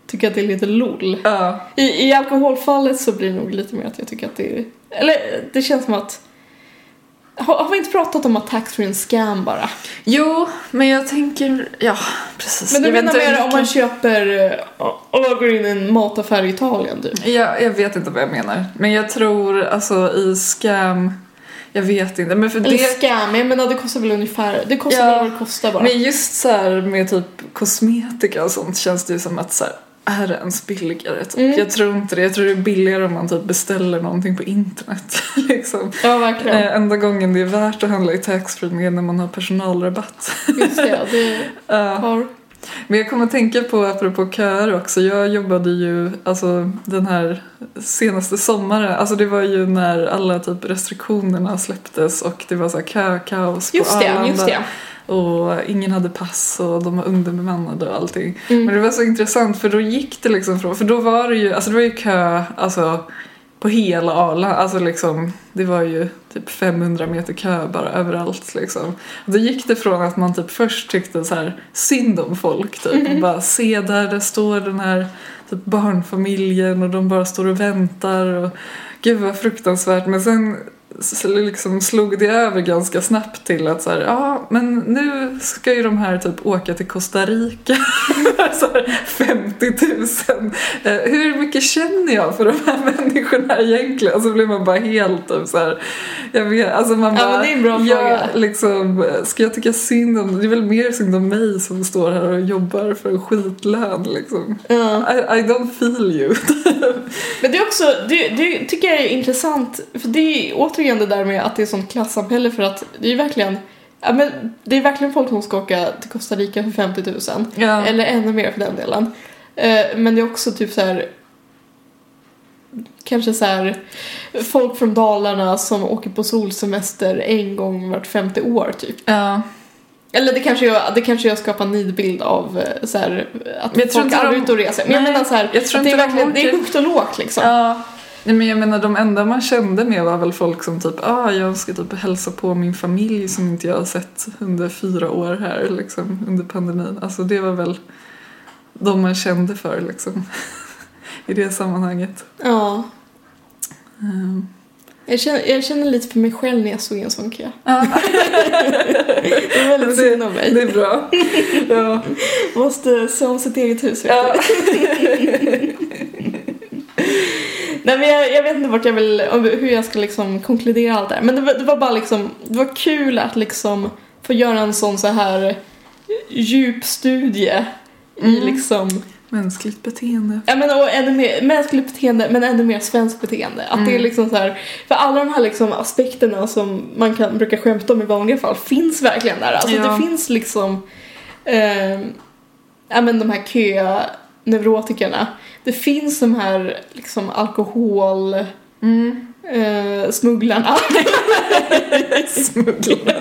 Speaker 3: tycka att det är lite lol.
Speaker 2: ja.
Speaker 3: I, I alkoholfallet så blir det nog lite mer att jag tycker att det är, eller det känns som att har, har vi inte pratat om att taxfree är en scam bara?
Speaker 2: Jo, men jag tänker... Ja, precis.
Speaker 3: Men du
Speaker 2: Jag vet
Speaker 3: menar
Speaker 2: inte
Speaker 3: mer om
Speaker 2: vilken-
Speaker 3: man köper eh, om man går in i en mataffär i Italien typ. du?
Speaker 2: Jag, jag vet inte vad jag menar. Men jag tror alltså i scam... Jag vet inte. Men för
Speaker 3: Eller
Speaker 2: det...
Speaker 3: scam, jag menar det kostar väl ungefär, det kostar
Speaker 2: Ja,
Speaker 3: väl vad det kostar bara.
Speaker 2: Men just så här med typ kosmetika och sånt känns det ju som att så här, är det ens billigare? Typ.
Speaker 3: Mm.
Speaker 2: Jag tror inte det. Jag tror det är billigare om man typ beställer någonting på internet. [LAUGHS] liksom.
Speaker 3: ja, verkligen.
Speaker 2: Eh, enda gången det är värt att handla i taxfree är när man har personalrabatt. [LAUGHS] Eh,
Speaker 3: Just det, det
Speaker 2: Ja.
Speaker 3: har...
Speaker 2: Men jag kommer att tänka på, apropå köer också, jag jobbade ju alltså, den här senaste sommaren, alltså det var ju när alla typ restriktionerna släpptes och det var så här kökaos på
Speaker 3: Just det,
Speaker 2: Arlanda
Speaker 3: just det.
Speaker 2: och ingen hade pass och de var underbemannade och allting.
Speaker 3: Mm.
Speaker 2: Men det var så intressant för då gick det liksom från, för då var det ju, alltså det var ju kö, alltså på hela Arlanda, alltså liksom det var ju typ 500 meter kö bara överallt liksom. Och då gick det från att man typ först tyckte så här synd om folk typ och bara se där, där står den här typ barnfamiljen och de bara står och väntar och gud vad fruktansvärt men sen s- liksom slog det över ganska snabbt till att så här, ja men nu ska ju de här typ åka till Costa Rica. [LAUGHS] så här, 50 000. Eh, hur mycket känner jag för de här [LAUGHS] människorna egentligen? Så blir man bara helt typ så här, jag vet, alltså man
Speaker 3: Ja,
Speaker 2: bara,
Speaker 3: men det är en bra
Speaker 2: jag,
Speaker 3: fråga.
Speaker 2: Liksom, ska jag tycka synd om, det är väl mer synd om mig som står här och jobbar för en skitlön liksom.
Speaker 3: Ja.
Speaker 2: I, I don't feel you.
Speaker 3: Men det är också, det, det tycker jag är intressant, för det är ju återigen det där med att det är sånt klassamhälle för att det är ju verkligen Ja, men det är verkligen folk som ska åka till Costa Rica för 50 000.
Speaker 2: [LAUGHS] Ja.
Speaker 3: Eller ännu mer för den delen. Eh, Men det är också typ så här. Kanske så här. Folk från Dalarna som åker på solsemester en gång vart femte år typ.
Speaker 2: ja.
Speaker 3: Eller det kanske jag, det kanske jag skapar en nidbild av eh, så här, att
Speaker 2: Men jag tror
Speaker 3: folk
Speaker 2: inte
Speaker 3: aldrig
Speaker 2: de-
Speaker 3: är ute och reser. Men jag
Speaker 2: Nej,
Speaker 3: menar så här,
Speaker 2: jag tror
Speaker 3: att det, är
Speaker 2: inte de
Speaker 3: verkligen, det är
Speaker 2: åker-
Speaker 3: högt och lågt liksom.
Speaker 2: Ja. Nej, men jag menar de enda man kände med var väl folk som typ, ah jag ska typ hälsa på min familj som inte jag har sett under fyra år här liksom under pandemin. Alltså det var väl de man kände för liksom. [LAUGHS] I det sammanhanget.
Speaker 3: Ja.
Speaker 2: Ehm.
Speaker 3: Jag känner, jag känner lite för mig själv när jag såg en sån kö.
Speaker 2: Ja.
Speaker 3: Det är väldigt synd om
Speaker 2: [LAUGHS] Det
Speaker 3: mig.
Speaker 2: är bra. [LAUGHS] Ja.
Speaker 3: Måste se om sitt eget hus. vet
Speaker 2: Ja.
Speaker 3: [LAUGHS] Nej men jag, jag vet inte vart jag vill, om- hur jag ska liksom konkludera allt det här. Men det var, det var bara liksom, det var kul att liksom få göra en sån så här djup studie
Speaker 2: Mm.
Speaker 3: i liksom,
Speaker 2: Mänskligt beteende.
Speaker 3: ja men och ännu mer mänskligt beteende men ännu mer svenskt beteende. Att det är liksom så här, för alla de här liksom aspekterna som man kan, brukar skämta om i vanliga fall finns verkligen där. Alltså
Speaker 2: Ja.
Speaker 3: det finns liksom, eh, ja men de här kö-neurotikerna. Det finns de här liksom alkohol...
Speaker 2: Mm.
Speaker 3: Eh, smugglarna
Speaker 2: [LAUGHS] Smuggla.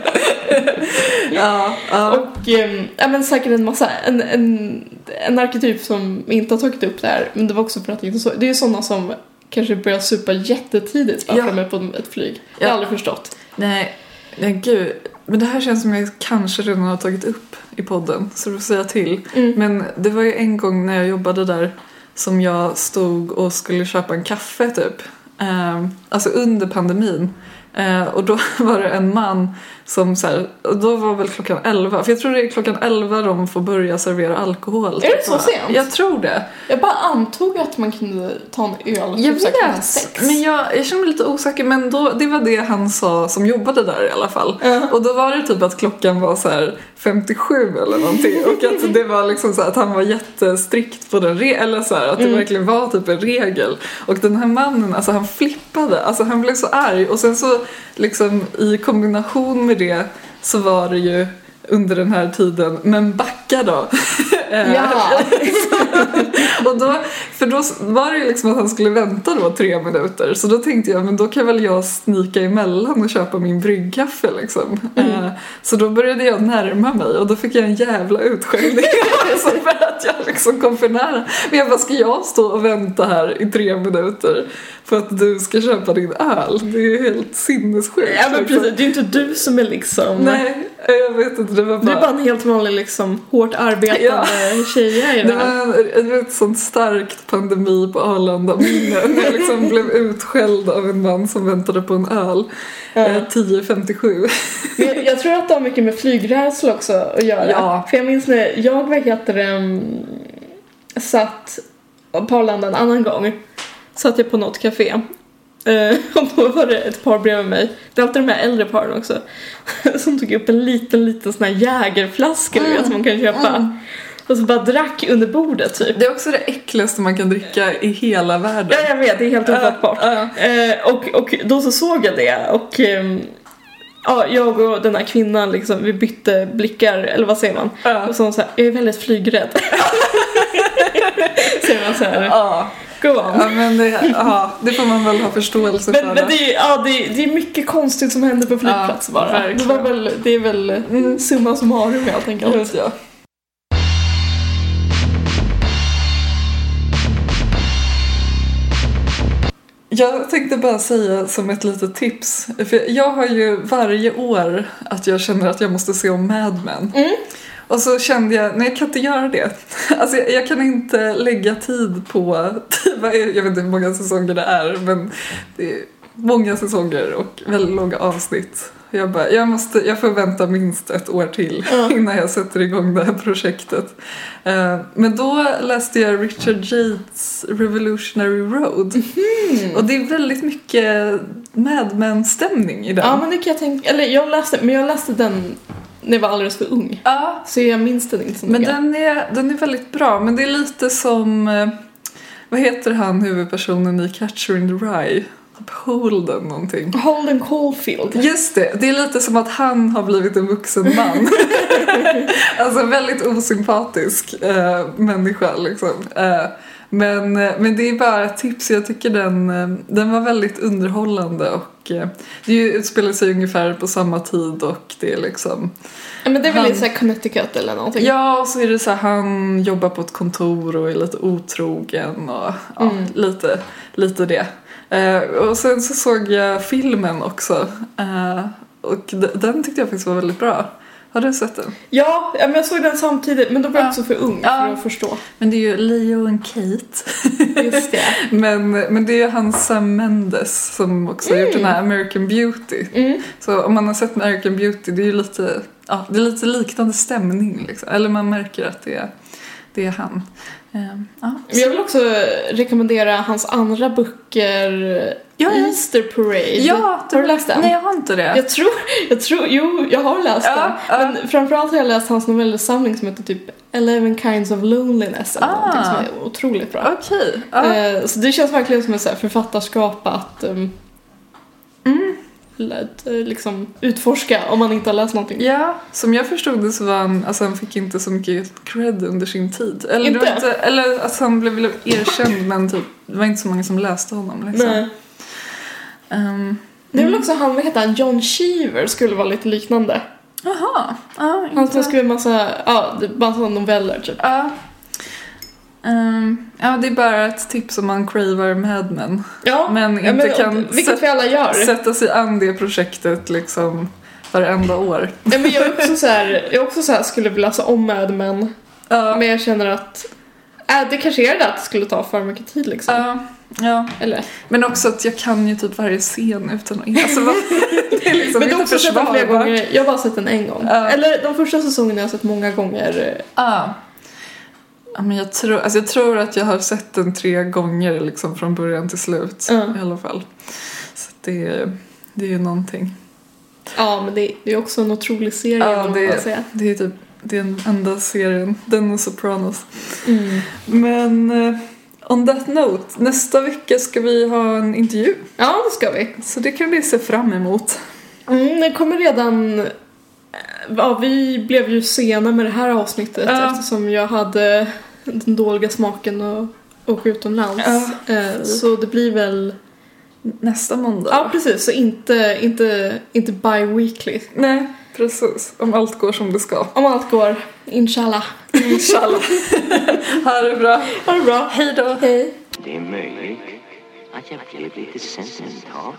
Speaker 2: ja, ja.
Speaker 3: och ehm, ja, men säkert en massa, en, en, en arketyp som vi inte har tagit upp där men det var också för att jag inte så, det är ju sådana som kanske börjar supa jättetidigt bara
Speaker 2: Ja.
Speaker 3: för att de är på ett flyg. Det
Speaker 2: Ja.
Speaker 3: har jag aldrig förstått.
Speaker 2: Nej, nej gud. Men det här känns som jag kanske redan har tagit upp i podden, så du får säga till.
Speaker 3: Mm.
Speaker 2: Men det var ju en gång när jag jobbade där som jag stod och skulle köpa en kaffe typ. Ehm, alltså under pandemin. Eh, och då [LAUGHS] var det en man som så här, och då var väl klockan 11, för jag tror det är klockan 11 de får börja servera alkohol. typ.
Speaker 3: Är det så sent?
Speaker 2: Jag tror det.
Speaker 3: Jag bara antog att man kunde ta en öl
Speaker 2: Jag
Speaker 3: typ så här klockan
Speaker 2: vet,
Speaker 3: sex.
Speaker 2: men jag, jag känner mig lite osäker. Men då, det var det han sa som jobbade där i alla fall.
Speaker 3: Ja.
Speaker 2: Och då var det typ att klockan var så här 57 eller någonting. Och att det var liksom så här att han var jättestrikt på den re- eller så här, att det
Speaker 3: Mm.
Speaker 2: verkligen var typ en regel. Och den här mannen, alltså han flippade. Alltså han blev så arg. Och sen så liksom i kombination med det så var det ju under den här tiden, men backa då. [LAUGHS] Eh,
Speaker 3: Ja,
Speaker 2: och då, för då var det ju liksom att han skulle vänta då tre minuter så då tänkte jag men då kan väl jag snika emellan och köpa min bryggkaffe liksom.
Speaker 3: Mm.
Speaker 2: Eh, så då började jag närma mig och då fick jag en jävla
Speaker 3: [LAUGHS]
Speaker 2: utskällning alltså för att jag liksom kom för nära. Men jag bara, ska jag stå och vänta här i tre minuter för att du ska köpa din öl? Det är ju helt sinnessjukt.
Speaker 3: ja men
Speaker 2: liksom.
Speaker 3: precis, det är ju inte du som är liksom
Speaker 2: Nej, eh, jag vet inte, det var
Speaker 3: Du är bara en helt vanlig liksom hårt arbetande tjej här i
Speaker 2: Det
Speaker 3: det här.
Speaker 2: var ett, ett sånt starkt pandemi på Arlanda minne när jag liksom blev utskälld av en man som väntade på en öl eh, 10.57.
Speaker 3: Men jag, jag tror att det har mycket med flygrädsla också att göra.
Speaker 2: Ja.
Speaker 3: För jag minns när jag, vad heter det, mm, satt på Arlanda en annan gång. Satt jag på något café. Eh, [LAUGHS] Och då var det ett par bredvid mig, det är alltid de här äldre paren också, [LAUGHS] som tog upp en liten, liten sån här jägerflaska du vet som man kan köpa. Och så bara drack under bordet typ.
Speaker 2: Det är också det äckligaste man kan dricka i hela
Speaker 3: Ja,
Speaker 2: världen.
Speaker 3: jag vet, det är helt ofattbart. Eh, och, och då så såg jag det och ehm, ja, jag och den här kvinnan liksom, vi bytte blickar, eller vad säger man?
Speaker 2: Ja.
Speaker 3: Och så hon såhär, jag är väldigt flygrädd. [LAUGHS] säger man såhär,
Speaker 2: Ja,
Speaker 3: go on.
Speaker 2: ja men det, ja, det får man väl ha förståelse
Speaker 3: Men,
Speaker 2: för.
Speaker 3: men det, är, ju- ja, det, är, det är mycket konstigt som händer på flygplatser
Speaker 2: Ja,
Speaker 3: bara. Det,
Speaker 2: verkligen.
Speaker 3: var väl, det är väl summa summarum helt enkelt.
Speaker 2: Just ja. Jag tänkte bara säga som ett litet tips. För jag har ju varje år att jag känner att jag måste se om Mad Men. Och så kände jag, nej jag kan inte göra det. Alltså jag, jag kan [LAUGHS] inte lägga tid på, vad är, jag vet inte hur många säsonger det är men det är många säsonger och väldigt långa avsnitt. Jag bara, jag, måste, jag får vänta minst ett år till [LAUGHS] innan jag sätter igång det här projektet. Eh, Men då läste jag Richard Yates Revolutionary Road.
Speaker 3: Mhm.
Speaker 2: Och det är väldigt mycket Mad Men-stämning i den.
Speaker 3: Ja, men det kan jag tänka. Eller jag läste, men jag läste den när jag var alldeles för ung.
Speaker 2: Ja,
Speaker 3: Så jag minns den inte så
Speaker 2: Men
Speaker 3: noga.
Speaker 2: den är, den är väldigt bra, men det är lite som, eh, vad heter han huvudpersonen i Catcher in the Rye? Holden någonting.
Speaker 3: Holden Caulfield.
Speaker 2: Just det, det är lite som att han har blivit en vuxen man. [LAUGHS] alltså en väldigt osympatisk eh, människa liksom. Eh, men, eh, men det är bara ett tips, jag tycker den, eh, den var väldigt underhållande och eh, det är ju- utspelar sig ungefär på samma tid och det är liksom
Speaker 3: Ja, men det är väl
Speaker 2: Han-
Speaker 3: lite såhär Connecticut eller någonting.
Speaker 2: Ja, och så är det så här, han jobbar på ett kontor och är lite otrogen och ja, lite, lite det. Eh, och sen så såg jag filmen också eh, och d- den tyckte jag faktiskt var väldigt bra. Har du sett den?
Speaker 3: Ja, ja, men jag såg den samtidigt men då var jag
Speaker 2: Ja.
Speaker 3: också för ung för
Speaker 2: Ja.
Speaker 3: att förstå.
Speaker 2: Men det är ju Leo och Kate.
Speaker 3: Just det.
Speaker 2: [LAUGHS] men, men det är ju han Sam Mendes som också har gjort den här American Beauty.
Speaker 3: Mm.
Speaker 2: Så om man har sett American Beauty, det är ju lite, ja, det är lite liknande stämning liksom. Eller man märker att det är, det är han. Eh, ja.
Speaker 3: Men jag vill också rekommendera hans andra böcker,
Speaker 2: Ja, ja.
Speaker 3: Easter Parade.
Speaker 2: Ja,
Speaker 3: har du läst den?
Speaker 2: Nej, jag har inte det.
Speaker 3: Jag tror, jag tror, jo, jag har läst
Speaker 2: Ja,
Speaker 3: den.
Speaker 2: ja.
Speaker 3: Men framförallt har jag läst hans novellsamling som heter typ Eleven Kinds of Loneliness eller
Speaker 2: Ah.
Speaker 3: någonting som är otroligt bra.
Speaker 2: Okej. Ja.
Speaker 3: Eh, Så det känns verkligen som ett så här författarskap att um,
Speaker 2: Mm.
Speaker 3: lät, eh, liksom utforska om man inte har läst någonting.
Speaker 2: ja, som jag förstod det så var han, alltså han fick inte så mycket cred under sin tid. Eller, det var
Speaker 3: Inte?
Speaker 2: inte, eller alltså han blev väl erkänd men typ, det var inte så många som läste honom liksom.
Speaker 3: Nej.
Speaker 2: Ehm,
Speaker 3: Det är väl också han, vad heter han, John Cheever skulle vara lite liknande.
Speaker 2: Jaha. Ja,
Speaker 3: Han som
Speaker 2: inte-
Speaker 3: skrev massa, ja, det- massa noveller typ.
Speaker 2: Ja. Ehm, ja, det är bara ett tips om man cravar Mad Men.
Speaker 3: Ja,
Speaker 2: Men inte kan
Speaker 3: vilket
Speaker 2: sätt-
Speaker 3: vi alla gör.
Speaker 2: Sätta sig an det projektet liksom varenda år.
Speaker 3: Nej, men jag är också så här, jag är också så här skulle vilja läsa om Mad Men.
Speaker 2: Ja.
Speaker 3: Men jag känner att äh, det kanske är det att det skulle ta för mycket tid liksom.
Speaker 2: Ja, ja.
Speaker 3: Eller?
Speaker 2: Men också att jag kan ju typ varje scen utan att... Alltså, vad- [LAUGHS] det är liksom
Speaker 3: Men jag har
Speaker 2: inte
Speaker 3: också sett den flera
Speaker 2: försvarbart.
Speaker 3: gånger. Jag har bara sett den en gång.
Speaker 2: Ja.
Speaker 3: Eller de första säsongerna har jag sett många gånger.
Speaker 2: Ja. Ja, men jag, tror, alltså jag tror att jag har sett den tre gånger liksom från början till slut
Speaker 3: Ja.
Speaker 2: i alla fall. Så att det, är- det är ju någonting.
Speaker 3: Ja, men det, det är också en otrolig serie.
Speaker 2: Ja,
Speaker 3: om
Speaker 2: det,
Speaker 3: man
Speaker 2: är-
Speaker 3: säger.
Speaker 2: det är typ det är den enda serien, den och Sopranos. Men eh, on that note, nästa vecka ska vi ha en intervju.
Speaker 3: ja det ska vi.
Speaker 2: Så det kan vi se fram emot.
Speaker 3: Mm, det kommer redan... eh, Ja, vi blev ju sena med det här avsnittet
Speaker 2: Ja.
Speaker 3: eftersom jag hade den dåliga smaken att åka utomlands.
Speaker 2: Ja.
Speaker 3: Eh, Så det blir väl...
Speaker 2: Nästa måndag.
Speaker 3: Ja, precis. Så inte, inte, inte bi-weekly.
Speaker 2: Nej, precis. Om allt går som det ska.
Speaker 3: Om allt går, inshallah.
Speaker 2: Inshallah. ha det bra.
Speaker 3: [LAUGHS] Ha det bra. Hej då. Hej.
Speaker 1: Det är möjligt att jag blev lite sentimental.